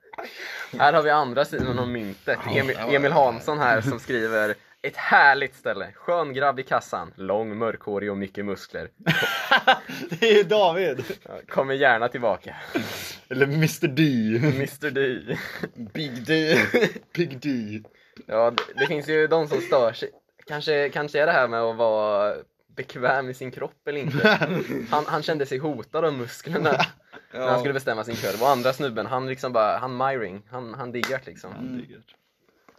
Speaker 3: Här har vi andra sidan av myntet. Emil,
Speaker 2: det var-
Speaker 3: Emil Hansson här som skriver ett härligt ställe. Skön grabb i kassan. Lång, mörkhårig och mycket muskler.
Speaker 1: Det är David!
Speaker 3: Kommer gärna tillbaka.
Speaker 1: Eller Mr D.
Speaker 3: Mr D.
Speaker 2: Big D.
Speaker 1: Pig D.
Speaker 3: Ja, det, det finns ju de som stör sig. Kanske, kanske är det här med att vara bekväm i sin kropp eller inte. Han, han kände sig hotad av musklerna när han skulle bestämma sin korv. Och andra snubben, han liksom bara, han myring. Han, han diggar liksom.
Speaker 2: Mm.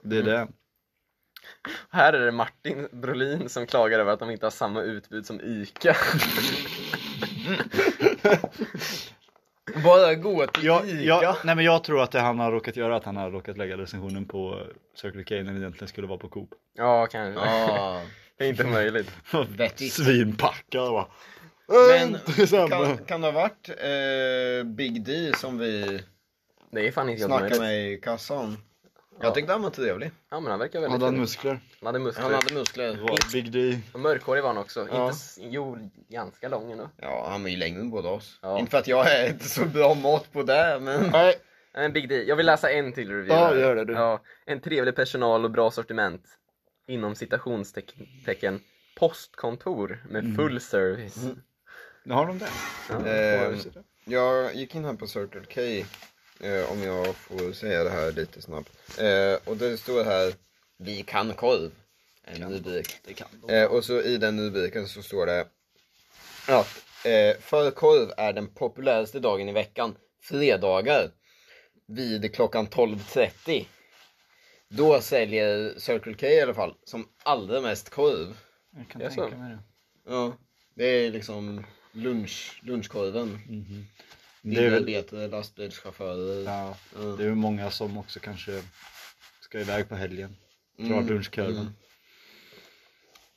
Speaker 1: Det är det.
Speaker 3: Här är det Martin Brolin som klagar över att de inte har samma utbud som ICA.
Speaker 2: Bara gå till
Speaker 1: Jag,
Speaker 2: Ica.
Speaker 1: jag, nej men jag tror att det han har råkat göra är att han har råkat lägga recensionen på Circle K när det egentligen skulle vara på Coop.
Speaker 3: Ja, kanske.
Speaker 2: Ja.
Speaker 3: Det är inte möjligt.
Speaker 2: Vettigt.
Speaker 1: Svinpackad va.
Speaker 2: Men
Speaker 1: Samma.
Speaker 2: kan, kan det ha varit eh, Big D som vi
Speaker 3: Det är fan inte helt
Speaker 2: snackade
Speaker 3: möjligt.
Speaker 2: med i kassan?
Speaker 3: Ja.
Speaker 2: Jag tyckte han var trevlig.
Speaker 3: Ja, men han verkar väldigt
Speaker 1: Hade han
Speaker 3: trevlig.
Speaker 1: muskler?
Speaker 3: Han hade muskler.
Speaker 2: Han hade
Speaker 1: Det
Speaker 2: muskler.
Speaker 1: var Big D.
Speaker 3: Och mörkhårig var han också.
Speaker 2: Ja.
Speaker 3: Inte, s- jo, ganska lång ändå.
Speaker 2: Ja, han var ju längre än båda oss.
Speaker 3: Ja.
Speaker 2: Inte för att jag är inte så bra mått på det, men...
Speaker 1: Nej.
Speaker 3: Nej, Men Big D, jag vill läsa en till review.
Speaker 1: Ja,
Speaker 3: här.
Speaker 1: gör det, du.
Speaker 3: Ja, en trevlig personal och bra sortiment. Inom citationstecken postkontor
Speaker 1: Mm.
Speaker 3: med full service.
Speaker 1: Har de det? Eh,
Speaker 3: Ja.
Speaker 2: Ehm, Jag gick in här på Circle K, eh, om jag får säga det här lite snabbt. Eh, och det står här, vi kan korv. En rubrik.
Speaker 1: Det kan de.
Speaker 2: Eh, och så i den rubriken så står det att eh, för korv är den populäraste dagen i veckan fredagar vid klockan 12.30. Då säljer Circle K i alla fall som allra mest korv.
Speaker 1: Jag kan
Speaker 3: det är
Speaker 1: tänka
Speaker 3: så.
Speaker 1: mig det.
Speaker 2: Ja, det är liksom lunch, lunchkorven.
Speaker 1: Det är väl,
Speaker 2: Bilarbetare, lastbilschaufförer.
Speaker 1: ja,
Speaker 2: Ja.
Speaker 1: det är ju många som också kanske ska iväg på helgen. Drar
Speaker 2: Mm,
Speaker 1: lunchkurven.
Speaker 2: mm.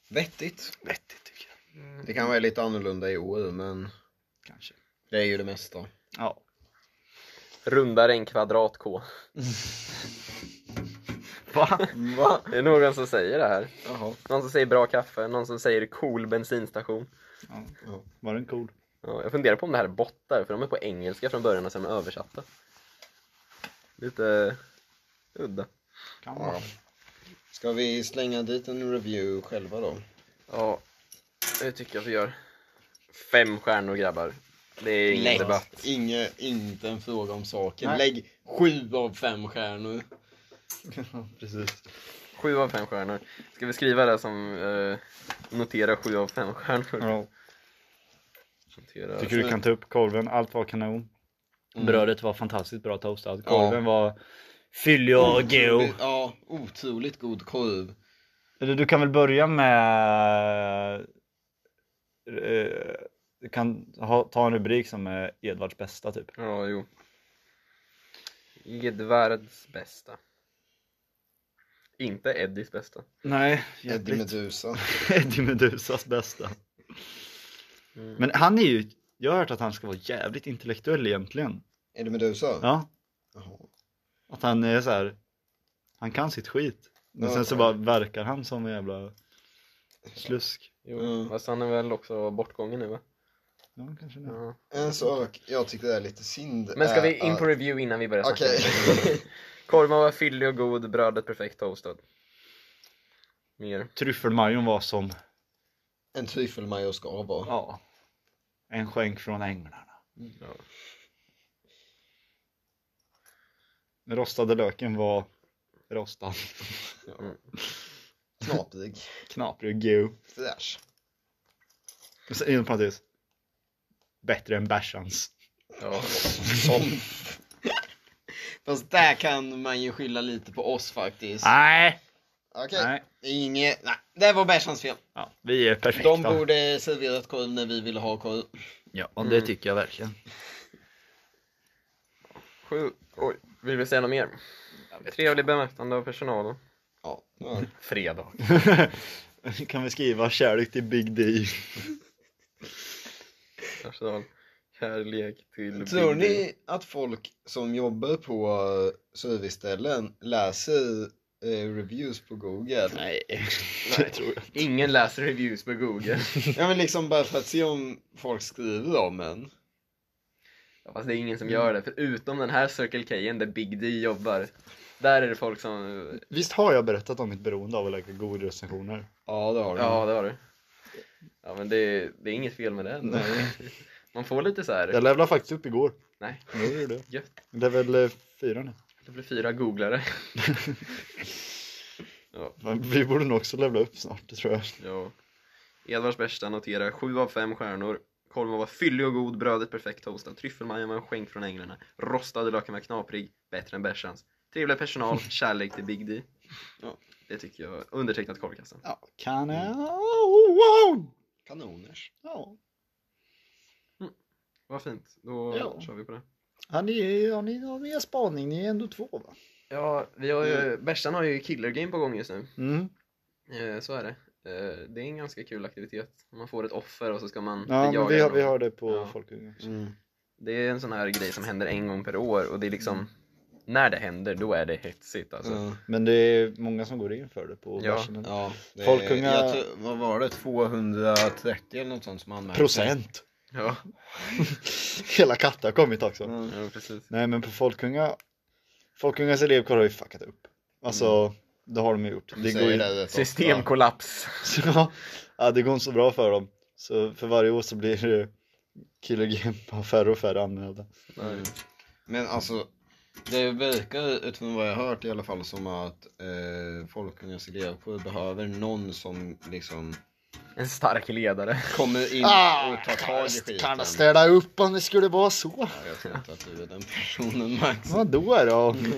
Speaker 2: Vettigt.
Speaker 1: Vettigt tycker jag.
Speaker 2: Det kan vara lite annorlunda i år, men
Speaker 1: Kanske.
Speaker 2: det är ju det mesta.
Speaker 1: Ja.
Speaker 3: Rundare än kvadrat K.
Speaker 1: Va?
Speaker 2: Va?
Speaker 3: Det är någon som säger det här.
Speaker 2: Jaha.
Speaker 3: Någon som säger bra kaffe, någon som säger cool bensinstation.
Speaker 1: Var den cool?
Speaker 3: Ja, jag funderar på om det här är bottar, för de är på engelska från början och sen är de översatta. Lite udda.
Speaker 1: Kan vara.
Speaker 2: Ja. Ska vi slänga dit en review själva då?
Speaker 3: Ja, det tycker jag vi gör. Fem stjärnor grabbar. Det är ingen debatt.
Speaker 2: Inge, inte en fråga om saken.
Speaker 1: Nej.
Speaker 2: Lägg sju av fem stjärnor.
Speaker 1: Precis.
Speaker 3: Sju av fem stjärnor. Ska vi skriva det som eh, notera sju av fem stjärnor?
Speaker 1: Ja.
Speaker 3: Notera.
Speaker 1: Tycker du kan ta upp korven, allt var kanon.
Speaker 2: Mm.
Speaker 1: Brödet var fantastiskt bra toastat.
Speaker 2: Ja. Mm.
Speaker 1: Korven var fyllig och god.
Speaker 2: Ja, otroligt god korv.
Speaker 1: Eller du kan väl börja med... eh, Du kan ha, ta en rubrik som är Edvards bästa typ.
Speaker 3: Ja, jo. Edvards bästa. Inte Eddies bästa.
Speaker 1: Nej,
Speaker 2: Eddie Meduza.
Speaker 1: Eddie Medusas bästa.
Speaker 2: Mm.
Speaker 1: Men han är ju... Jag har hört att han ska vara jävligt intellektuell egentligen.
Speaker 2: Eddie Meduza?
Speaker 1: Ja,
Speaker 2: Jaha.
Speaker 1: att han är så här. Han kan sitt skit. Men
Speaker 2: Ja,
Speaker 1: sen så
Speaker 2: ja.
Speaker 1: bara verkar han som en jävla slusk.
Speaker 3: Jo.
Speaker 2: Mm.
Speaker 3: Fast han är väl också bortgången nu va?
Speaker 1: Ja, kanske det.
Speaker 3: Ja.
Speaker 2: En sak jag tycker är lite synd
Speaker 3: Men ska
Speaker 2: är
Speaker 3: vi in på
Speaker 2: att-
Speaker 3: review innan vi börjar snacka?
Speaker 2: Eh, Okej.
Speaker 3: Korven var fyllig och god, brödet perfekt toastad. Mer.
Speaker 1: Tryffelmajon var som,
Speaker 2: En tryffelmajo ska vara.
Speaker 1: ja, Mm. en skänk från änglarna.
Speaker 3: Ja.
Speaker 1: Den rostade löken var rostad,
Speaker 2: Knaprig.
Speaker 1: knaprig och god.
Speaker 2: Fräsch.
Speaker 1: Men sen Inom parentes, bättre än bärsans.
Speaker 3: Ja.
Speaker 2: Fast där kan man ju skylla lite på oss faktiskt.
Speaker 1: Nej,
Speaker 2: Okej,
Speaker 1: Ah. nej.
Speaker 2: inget. Nej, det var Bersans fel.
Speaker 1: Ja, vi är perfekta.
Speaker 2: De borde serverat korv när vi ville ha korv.
Speaker 1: Ja,
Speaker 3: det Mm.
Speaker 1: tycker jag verkligen.
Speaker 3: Sju. Oj, vill vi säga något mer? Trevlig bemötande av personalen.
Speaker 2: Ja.
Speaker 3: Fredag.
Speaker 1: kan vi skriva kärlek till Big D?
Speaker 3: Personal. Kärlek till
Speaker 2: Tror
Speaker 3: Big D.
Speaker 1: Mm.
Speaker 2: ni att folk som jobbar på eh, serviceställen läser eh, reviews på Google?
Speaker 1: Nej, det tror jag.
Speaker 3: Ingen läser reviews på Google.
Speaker 2: Ja men liksom bara för att se om folk skriver om en.
Speaker 3: Ja, Fast det är ingen som gör det, förutom den här Circle K där Big D jobbar. Där är det folk som...
Speaker 1: Visst har jag berättat om mitt beroende av att lägga goda recensioner?
Speaker 2: Ja det har de.
Speaker 3: Ja, det har du. Ja, men det, det är inget fel med det.
Speaker 1: Nej.
Speaker 3: Man får lite så här...
Speaker 1: Jag levlade faktiskt upp igår.
Speaker 3: Nej.
Speaker 1: Nu är det.
Speaker 3: Gött.
Speaker 1: det är väl eh, fyra nu.
Speaker 3: Det blir fyra googlare.
Speaker 1: Men vi borde nog också levla upp snart, det tror jag.
Speaker 3: Ja. Edvards bästa noterar 7 av 5 stjärnor. Korven var fyllig och god, brödet perfekt toastad, tryffelmajan var en skänk från Änglarna, rostade löken var knaprig, bättre än bärsans. Trevlig personal, kärlek till Big D.
Speaker 2: Ja.
Speaker 3: Det tycker jag. Undertecknat korvkassan.
Speaker 1: Ja, kan jag? Wow!
Speaker 2: Kanoners.
Speaker 1: Ja.
Speaker 3: Vad fint, då
Speaker 1: Ja.
Speaker 3: kör vi på det.
Speaker 1: Har ni, har ni någon mer spaning? Ni är ändå två va?
Speaker 3: Ja, vi har ju, bärsan har ju killer game på gång just nu.
Speaker 1: Mm.
Speaker 3: Eh, så är det. Eh, det är en ganska kul aktivitet. Man får ett offer och så ska man
Speaker 1: Ja, men
Speaker 3: jaga
Speaker 1: vi har,
Speaker 3: någon.
Speaker 1: vi har det på
Speaker 3: Ja.
Speaker 1: ja.
Speaker 2: Mm.
Speaker 3: Det är en sån här grej som händer en gång per år och det är liksom när det händer då är det hetsigt alltså.
Speaker 2: Ja.
Speaker 1: Men det är många som går in för det på
Speaker 3: Ja.
Speaker 1: börsen.
Speaker 2: Ja, det,
Speaker 1: Folkunga-
Speaker 2: jag tror- vad var det? 230 eller något sånt som anmälde
Speaker 1: Procent!
Speaker 3: Ja,
Speaker 1: Hela katten har kommit också.
Speaker 2: Mm.
Speaker 3: ja precis.
Speaker 1: Nej men på Folkunga Folkungas elevkår har ju fuckat upp. Alltså, det har de ju gjort. Det
Speaker 2: Det
Speaker 1: går
Speaker 2: går
Speaker 1: ju...
Speaker 2: det rätt ofta.
Speaker 3: Systemkollaps.
Speaker 1: Så, ja, det går inte så bra för dem. Så för varje år så blir det Killer Game bara färre och färre anmälda.
Speaker 3: Nej.
Speaker 2: Men alltså, det verkar utifrån vad jag har hört i alla fall som att eh, Folkungas elevkår behöver någon som liksom
Speaker 3: En stark ledare.
Speaker 2: kommer in
Speaker 1: Ah,
Speaker 2: och tar tag i skiten.
Speaker 1: Kan jag städa upp om det skulle vara så?
Speaker 2: Ja, jag tror inte att du är den personen Max.
Speaker 1: Vadå då?
Speaker 2: Mm.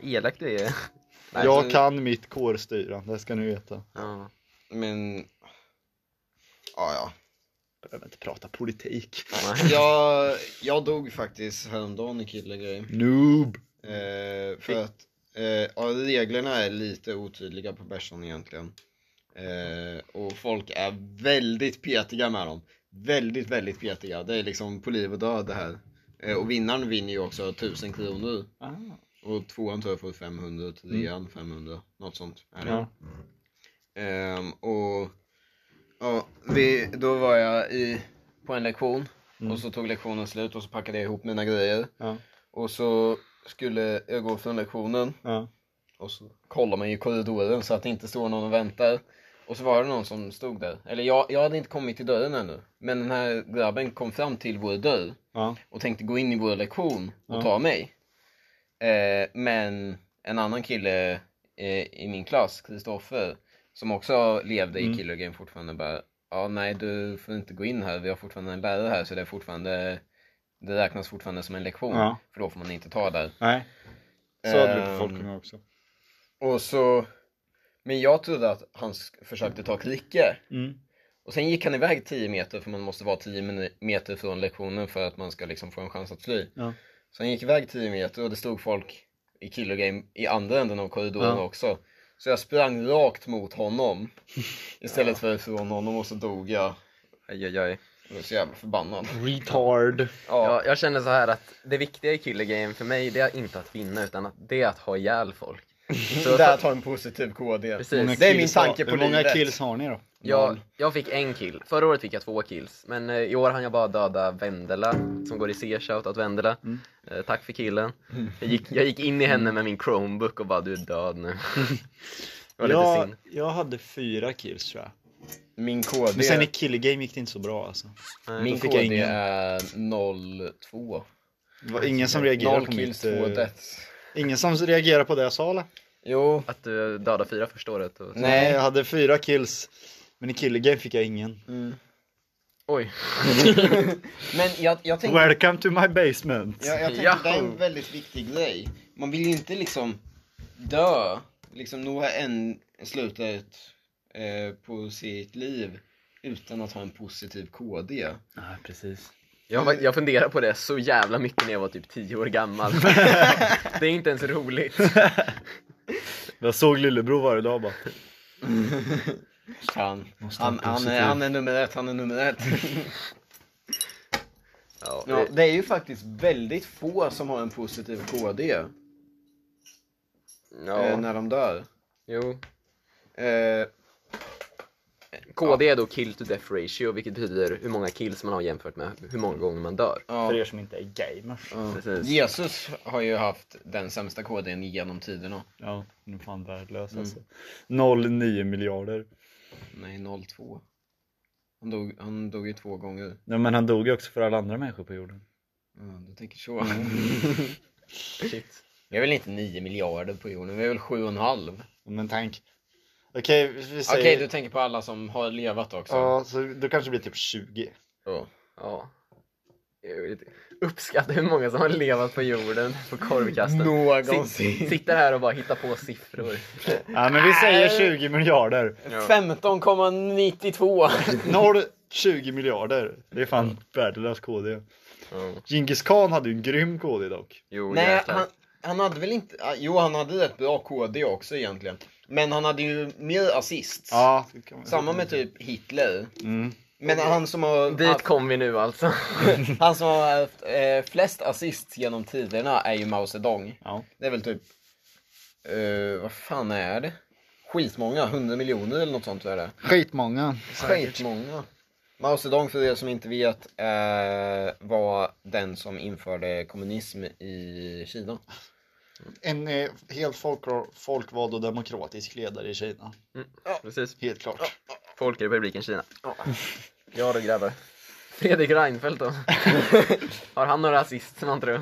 Speaker 3: Elak du är. Nej,
Speaker 1: Jag
Speaker 2: men-
Speaker 1: kan mitt kårstyrande, det ska ni veta.
Speaker 3: Ja.
Speaker 2: Men, ja ja.
Speaker 1: Jag behöver inte prata politik.
Speaker 2: Jag, jag dog faktiskt häromdagen i killegrej.
Speaker 1: Noob!
Speaker 2: Eh, för att eh, ja, reglerna är lite otydliga på Bärsson egentligen. Eh, och folk är väldigt petiga med dem. Väldigt, väldigt petiga. Det är liksom på liv och död det här. Eh, och vinnaren vinner ju också 1000 kronor.
Speaker 1: Ah.
Speaker 2: Och tvåan tror jag får 500, trean 500, något sånt. Är det.
Speaker 1: Ja.
Speaker 2: Ehm, och ja, vi, då var jag i, på en lektion och så tog lektionen slut och så packade jag ihop mina grejer.
Speaker 1: Ja.
Speaker 2: Och så skulle jag gå från lektionen
Speaker 1: Ja.
Speaker 2: och så kollar man i korridoren så att det inte står någon och väntar. Och så var det någon som stod där. Eller jag, jag hade inte kommit till dörren ännu. Men den här grabben kom fram till vår dörr
Speaker 1: Ja.
Speaker 2: och tänkte gå in i vår lektion och
Speaker 1: Ja.
Speaker 2: ta mig. Eh, men en annan kille eh, i min klass, Kristoffer, som också levde i
Speaker 1: Mm.
Speaker 2: Killer Game fortfarande bara Ja nej du får inte gå in här, vi har fortfarande en lärare här så det är fortfarande Det räknas fortfarande som en lektion,
Speaker 1: Ja.
Speaker 2: för då får man inte ta där.
Speaker 1: Nej. Så hade vi på
Speaker 2: Ehm,
Speaker 1: Folkunga också.
Speaker 2: Och så Men jag trodde att han sk- försökte ta Kricke
Speaker 1: Mm.
Speaker 2: Och sen gick han iväg 10 meter för man måste vara 10 min- meter från lektionen för att man ska liksom få en chans att fly.
Speaker 1: Ja.
Speaker 2: Så han gick iväg 10 meter och det stod folk i Killer Game i andra änden av korridoren
Speaker 1: Ja.
Speaker 2: också. Så jag sprang rakt mot honom istället för ifrån honom och så dog jag.
Speaker 3: Aj, aj, aj.
Speaker 2: Jag var så jävla förbannad.
Speaker 1: Retard.
Speaker 2: Ja.
Speaker 3: Ja, jag känner så här att det viktiga i killer game för mig det är inte att vinna utan att det är att ha ihjäl folk. Så-
Speaker 2: Där tar en positiv KD.
Speaker 3: Precis.
Speaker 2: Det är min tanke på
Speaker 1: Hur många
Speaker 2: livet.
Speaker 1: kills har ni då?
Speaker 3: Jag, jag fick en kill. Förra året fick jag två kills. Men eh, i år hann jag bara döda Vendela, som går i C, shoutout Vendela.
Speaker 2: Mm.
Speaker 3: Eh, tack för killen. Jag gick, jag gick in i henne med min Chromebook och bara du är död nu. det var lite synd.
Speaker 1: Jag, jag hade fyra kills tror jag.
Speaker 2: Min KD,
Speaker 1: Men sen i killgame gick det inte så bra alltså.
Speaker 2: min
Speaker 1: då fick jag
Speaker 2: KD
Speaker 1: ingen.
Speaker 2: är 0-2.
Speaker 1: Det var ingen som reagerade
Speaker 2: 0
Speaker 1: på
Speaker 2: kills,
Speaker 1: mitt...
Speaker 2: 2
Speaker 1: Eh,
Speaker 2: deaths.
Speaker 1: ingen som reagerade på det jag sa eller?
Speaker 2: Jo,
Speaker 3: Att du dödade fyra första året. Och...
Speaker 1: Nej, jag hade fyra kills. Men i killgame fick jag ingen.
Speaker 3: Mm. Oj.
Speaker 2: men jag, jag tänkte
Speaker 1: Welcome to my basement.
Speaker 2: Jag, jag tänker
Speaker 3: Ja.
Speaker 2: det är en väldigt viktig grej. Man vill ju inte liksom dö, liksom nå en slutet eh, på sitt liv utan att ha en positiv KD.
Speaker 4: Nej, precis.
Speaker 3: Jag, var- jag funderar på det så jävla mycket när jag var typ 10 år gammal. det är inte ens roligt.
Speaker 1: Jag såg lillebror varje dag bara.
Speaker 2: Han,
Speaker 1: Måste
Speaker 2: han,
Speaker 1: vara
Speaker 2: han,
Speaker 1: positiv.
Speaker 2: är, han är nummer ett, han är nummer ett.
Speaker 3: Ja,
Speaker 2: ja, det är ju faktiskt väldigt få som har en positiv KD eh,
Speaker 3: ja.
Speaker 2: när de dör.
Speaker 3: Jo.
Speaker 2: Eh,
Speaker 3: KD är då kill to death ratio, vilket betyder hur många kills man har jämfört med hur många gånger man dör.
Speaker 2: ja.
Speaker 5: För er som inte är gamers.
Speaker 2: ja.
Speaker 3: Precis.
Speaker 2: Jesus har ju haft den sämsta KDn genom tiderna.
Speaker 1: Ja, nu är fan värdelös alltså. 0,9 miljarder.
Speaker 2: Nej, 02. Han dog, han dog ju två gånger.
Speaker 1: Nej, men han dog ju också för alla andra människor på jorden.
Speaker 2: Ja, du tänker så.
Speaker 1: Mm.
Speaker 3: Shit.
Speaker 2: Vi är väl inte 9 miljarder på jorden, vi är väl 7,5.
Speaker 1: Men tänk. Okej, vi
Speaker 2: Okej,
Speaker 1: säger...
Speaker 2: du tänker på alla som har levat också.
Speaker 1: Ja, så då kanske det blir typ 20.
Speaker 2: Ja.
Speaker 3: Ja. Jag vill inte- Uppskatta hur många som har levat på jorden på korvkasten. Sitt,
Speaker 2: Någonsin.
Speaker 3: sitter här och bara hittar på siffror.
Speaker 1: Ja, men vi säger 20 miljarder.
Speaker 2: 15,92.
Speaker 1: 0, 20 miljarder. Det är fan värdelös KD. Genghis Khan hade ju en grym KD dock.
Speaker 3: Jo,
Speaker 2: Nej,
Speaker 3: jäklar.
Speaker 2: han, han hade väl inte... ah, Jo, han hade ett bra KD också egentligen. Men han hade ju mer assist.
Speaker 1: Ja, det kan man-
Speaker 2: Samma med typ Hitler.
Speaker 1: Mm.
Speaker 2: Men han som har...
Speaker 3: Dit kom vi nu alltså.
Speaker 2: Han som har haft eh, flest assist genom tiderna är ju Mao Zedong.
Speaker 1: Ja.
Speaker 2: Det är väl typ, eh, vad fan är det? Skitmånga, 100 miljoner eller något sånt är det.
Speaker 1: Skitmånga.
Speaker 2: Skitmånga. Mao Zedong för er som inte vet eh, var den som införde kommunism i Kina.
Speaker 1: En eh, helt folk, folkvald och demokratisk ledare i Kina.
Speaker 3: Precis.
Speaker 1: Helt klart.
Speaker 3: Folkrepubliken Kina. Ja då grabbar. Fredrik Reinfeldt då? Har han några assist man tror?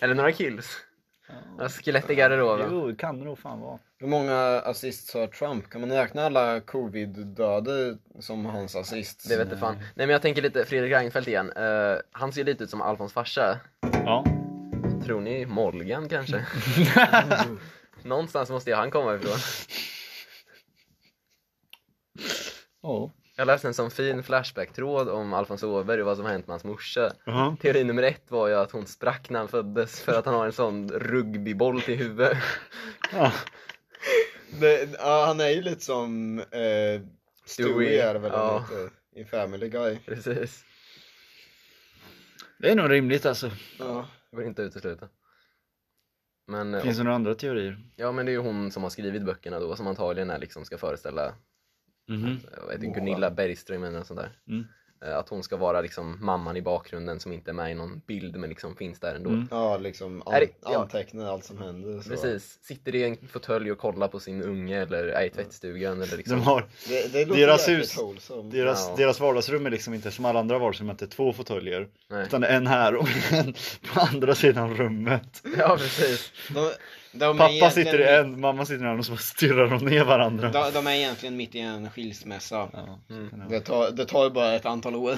Speaker 3: Eller några kills? Några skelett i garderoben?
Speaker 1: Jo, det kan det nog fan vara.
Speaker 2: Hur många assist har Trump? Kan man räkna alla covid-döda som hans assist?
Speaker 3: Det vet inte fan. Nej men jag tänker lite Fredrik Reinfeldt igen. Eh, han ser lite ut som Alfons farsa.
Speaker 1: Ja.
Speaker 3: Tror ni Morgan kanske? Mm. Någonstans måste ju han komma ifrån.
Speaker 1: Ja.
Speaker 3: Jag läste en sån fin flashback-tråd om Alfons Åberg och vad som hänt med hans morsa.
Speaker 1: Jaha.
Speaker 3: Teori nummer ett var ju att hon sprack när han föddes för att han har en sån rugbyboll till huvudet.
Speaker 1: Ja.
Speaker 2: Det, ja, han är ju lite som eh, Stewie är det väl
Speaker 3: Ja.
Speaker 2: han heter i Family Guy.
Speaker 3: Precis.
Speaker 1: Det är nog rimligt alltså.
Speaker 2: Ja.
Speaker 3: Det går inte att utesluta. Men, eh,
Speaker 1: Finns det några andra teorier?
Speaker 3: ja men det är ju hon som har skrivit böckerna då som antagligen är liksom ska föreställa
Speaker 1: Mhm.
Speaker 3: jag vet inte, Gunilla Bergström eller något sånt där.
Speaker 1: Mm.
Speaker 3: Eh, Att hon ska vara liksom mamman i bakgrunden som inte är med i någon bild men liksom finns där ändå.
Speaker 1: Mm.
Speaker 2: Ja, liksom
Speaker 3: Är
Speaker 2: an-
Speaker 3: det- ja.
Speaker 2: antecknar allt som händer. Så.
Speaker 3: Precis, sitter i en fåtölj och kollar på sin unge eller är i tvättstugan eller liksom.
Speaker 1: De har,
Speaker 2: Det, det låter
Speaker 1: Deras
Speaker 2: jäkligt
Speaker 1: hus.
Speaker 2: wholesome.
Speaker 1: deras,
Speaker 3: Ja.
Speaker 1: deras vardagsrum är liksom inte som alla andra vardagsrum, att det är två fåtöljer.
Speaker 3: Nej.
Speaker 1: Utan det är en här och en på andra sidan rummet.
Speaker 3: Ja precis.
Speaker 2: De, de är
Speaker 1: Pappa
Speaker 2: egentligen
Speaker 1: sitter i en, mamma sitter i en annan och så bara stirrar de ner varandra. Mm.
Speaker 2: De, de är egentligen mitt i en skilsmässa.
Speaker 1: Ja.
Speaker 2: Det tar, det tar ju bara ett antal år.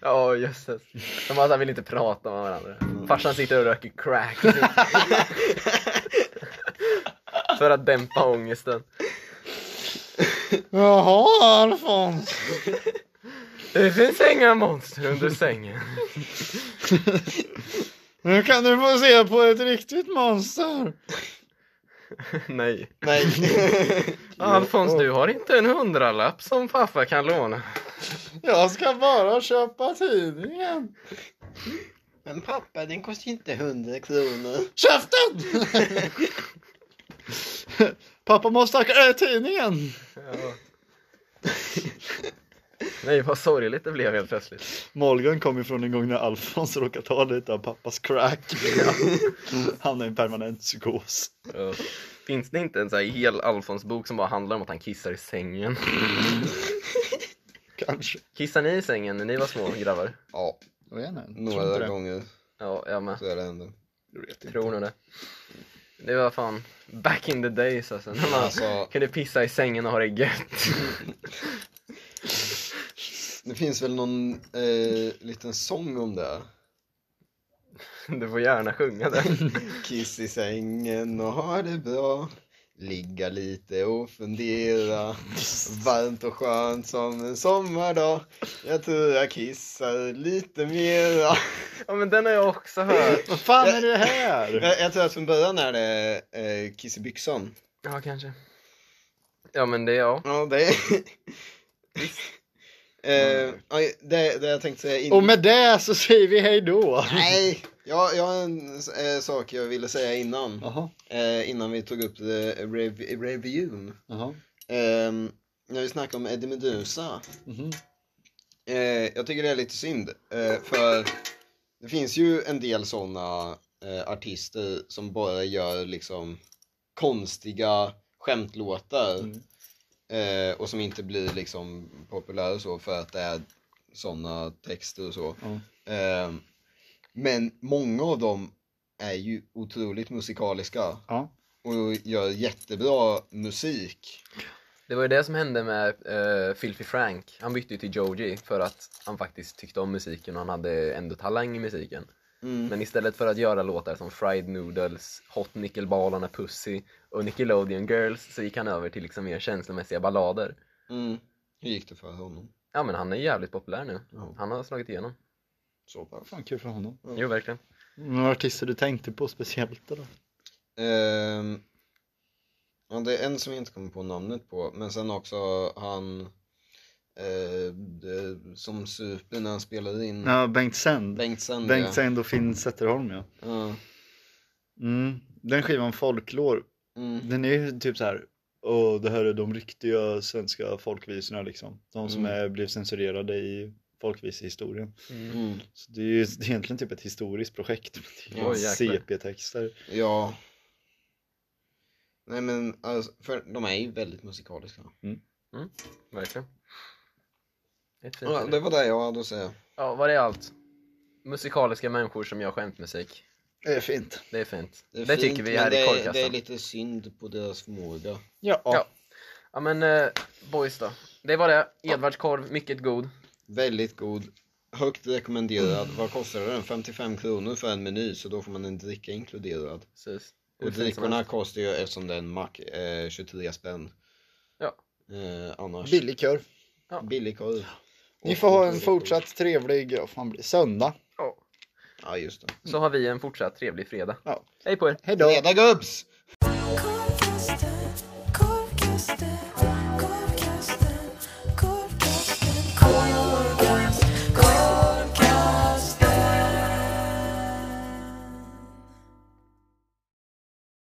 Speaker 3: Ja jösses. De bara så här vill inte prata med varandra.
Speaker 1: Mm.
Speaker 3: Farsan sitter och röker crack. För att dämpa ångesten.
Speaker 1: Jaha Alfons!
Speaker 3: Det finns inga monster under sängen.
Speaker 1: Nu kan du få se på ett riktigt monster!
Speaker 3: Nej.
Speaker 2: Nej.
Speaker 3: Alfons, du har inte en hundralapp som pappa kan låna.
Speaker 1: Jag ska bara köpa tidningen!
Speaker 2: Men pappa, den kostar ju inte 100 kronor.
Speaker 1: Käften! Pappa måste ha äh, tidningen!
Speaker 3: Nej, vad sorgligt det blev helt plötsligt.
Speaker 1: Malgun kom ju från en gång när Alfons råkade ta lite av pappas crack. Hamnade i en permanent psykos.
Speaker 3: Ja. Finns det inte en så här hel Alfons-bok som bara handlar om att han kissar i sängen?
Speaker 1: Kanske.
Speaker 3: Kissar ni i sängen när ni var små grabbar?
Speaker 2: Ja,
Speaker 1: Jag vet inte. Tror inte
Speaker 2: några
Speaker 1: det.
Speaker 2: gånger
Speaker 3: Ja, jag med.
Speaker 2: så är det ändå.
Speaker 1: Jag vet inte.
Speaker 3: Tror nog det. Det var fan back in the days alltså, när man
Speaker 2: Alltså,
Speaker 3: kunde pissa i sängen och ha det gött.
Speaker 2: det finns väl någon eh, liten sång om det?
Speaker 3: Du får gärna sjunga det.
Speaker 2: Kiss i sängen och ha det bra Ligga lite och fundera Varmt och skönt som en sommardag Jag tror jag kissar lite mera
Speaker 3: Ja men den har jag också hört.
Speaker 1: Vad fan är det här?
Speaker 2: Jag, jag tror att från början är det eh, kiss i byxan
Speaker 3: Ja kanske. Ja men det, ja.
Speaker 2: Ja, det är... eh, ja, det, det jag tänkte säga in...
Speaker 1: Och med det så säger vi hej då.
Speaker 2: Nej! Jag, jag har en eh, sak jag ville säga innan
Speaker 1: Jaha,
Speaker 2: eh, Innan vi tog upp eh, rev, reviewn
Speaker 1: jaha.
Speaker 2: Ehm, när vi snackade om Eddie Meduza.
Speaker 1: Mhm.
Speaker 2: Eh, jag tycker det är lite synd. Eh, för det finns ju en del sådana eh, artister som bara gör liksom konstiga skämtlåtar.
Speaker 1: Mm.
Speaker 2: Eh, och som inte blir liksom populära och så för att det är sådana texter och så.
Speaker 1: Ja.
Speaker 2: Ehm, men många av dem är ju otroligt musikaliska
Speaker 1: Ja.
Speaker 2: och gör jättebra musik.
Speaker 3: Det var ju det som hände med uh, Filthy Frank. Han bytte ju till Joji för att han faktiskt tyckte om musiken och han hade ändå talang i musiken.
Speaker 2: Mm.
Speaker 3: Men istället för att göra låtar som Fried Noodles, Hot Nickel Ball on a Pussy och Nickelodeon Girls så gick han över till liksom mer känslomässiga ballader.
Speaker 2: Mm. Hur gick det för honom?
Speaker 3: Ja men han är jävligt populär nu.
Speaker 2: Ja.
Speaker 3: Han har slagit igenom.
Speaker 2: Så pass.
Speaker 1: Fan kul för honom.
Speaker 3: Jo verkligen.
Speaker 1: Några artister du tänkte på speciellt eller?
Speaker 2: Ehm, ja, det är en som jag inte kommer på namnet på, men sen också han eh, det, som super när han spelade in
Speaker 1: Ja, Bengt Sänd.
Speaker 2: Bengt Sänd. ja.
Speaker 1: Bengt Sänd och Finn Zetterholm ja.
Speaker 2: Ja.
Speaker 1: Mm. Den skivan Folklor,
Speaker 2: Mm.
Speaker 1: den är ju typ så här. Och det här är de riktiga svenska folkvisorna liksom. De som
Speaker 2: Mm.
Speaker 1: är, blev censurerade i folkvisehistorien.
Speaker 2: Mm.
Speaker 1: Så det är ju det är egentligen typ ett historiskt projekt. men Det är
Speaker 3: Oj,
Speaker 1: ju
Speaker 3: jäklar.
Speaker 1: CP-texter.
Speaker 2: Ja. Nej men alltså, för de är ju väldigt musikaliska.
Speaker 3: Verkligen. Ett fint
Speaker 2: Ja, det var det jag hade att säga.
Speaker 3: Ja, var det allt? Musikaliska människor som gör skämtmusik.
Speaker 1: Det är fint.
Speaker 3: Det är fint. Det,
Speaker 2: är
Speaker 3: tycker
Speaker 2: fint,
Speaker 3: vi
Speaker 2: men
Speaker 3: här
Speaker 2: det
Speaker 3: i
Speaker 2: är- Det är
Speaker 3: korvkassan.
Speaker 2: lite synd på deras förmåga.
Speaker 1: Ja.
Speaker 3: Ja. Ja men, eh, boys då. Det var det. Edvards korv, mycket god.
Speaker 2: Väldigt god. Högt rekommenderad. Vad kostar den? 55 kronor för en meny, så då får man en dricka inkluderad.
Speaker 3: Precis. Hur fint
Speaker 2: Och
Speaker 3: som
Speaker 2: drickorna
Speaker 3: helst.
Speaker 2: kostar ju, eftersom det är en mack, eh, 23 spänn.
Speaker 3: Ja.
Speaker 2: Eh, annars.
Speaker 1: Billig korv.
Speaker 2: Billig korv.
Speaker 1: Ni
Speaker 2: Och
Speaker 1: får ha en
Speaker 2: inkluderad korv.
Speaker 1: fortsatt trevlig, ja, fan blir det söndag.
Speaker 3: Ja.
Speaker 2: Ja, just det.
Speaker 3: Så har vi en fortsatt trevlig fredag.
Speaker 1: Ja.
Speaker 3: Hej på er!
Speaker 1: Hejdå!
Speaker 2: Fredag gubbs!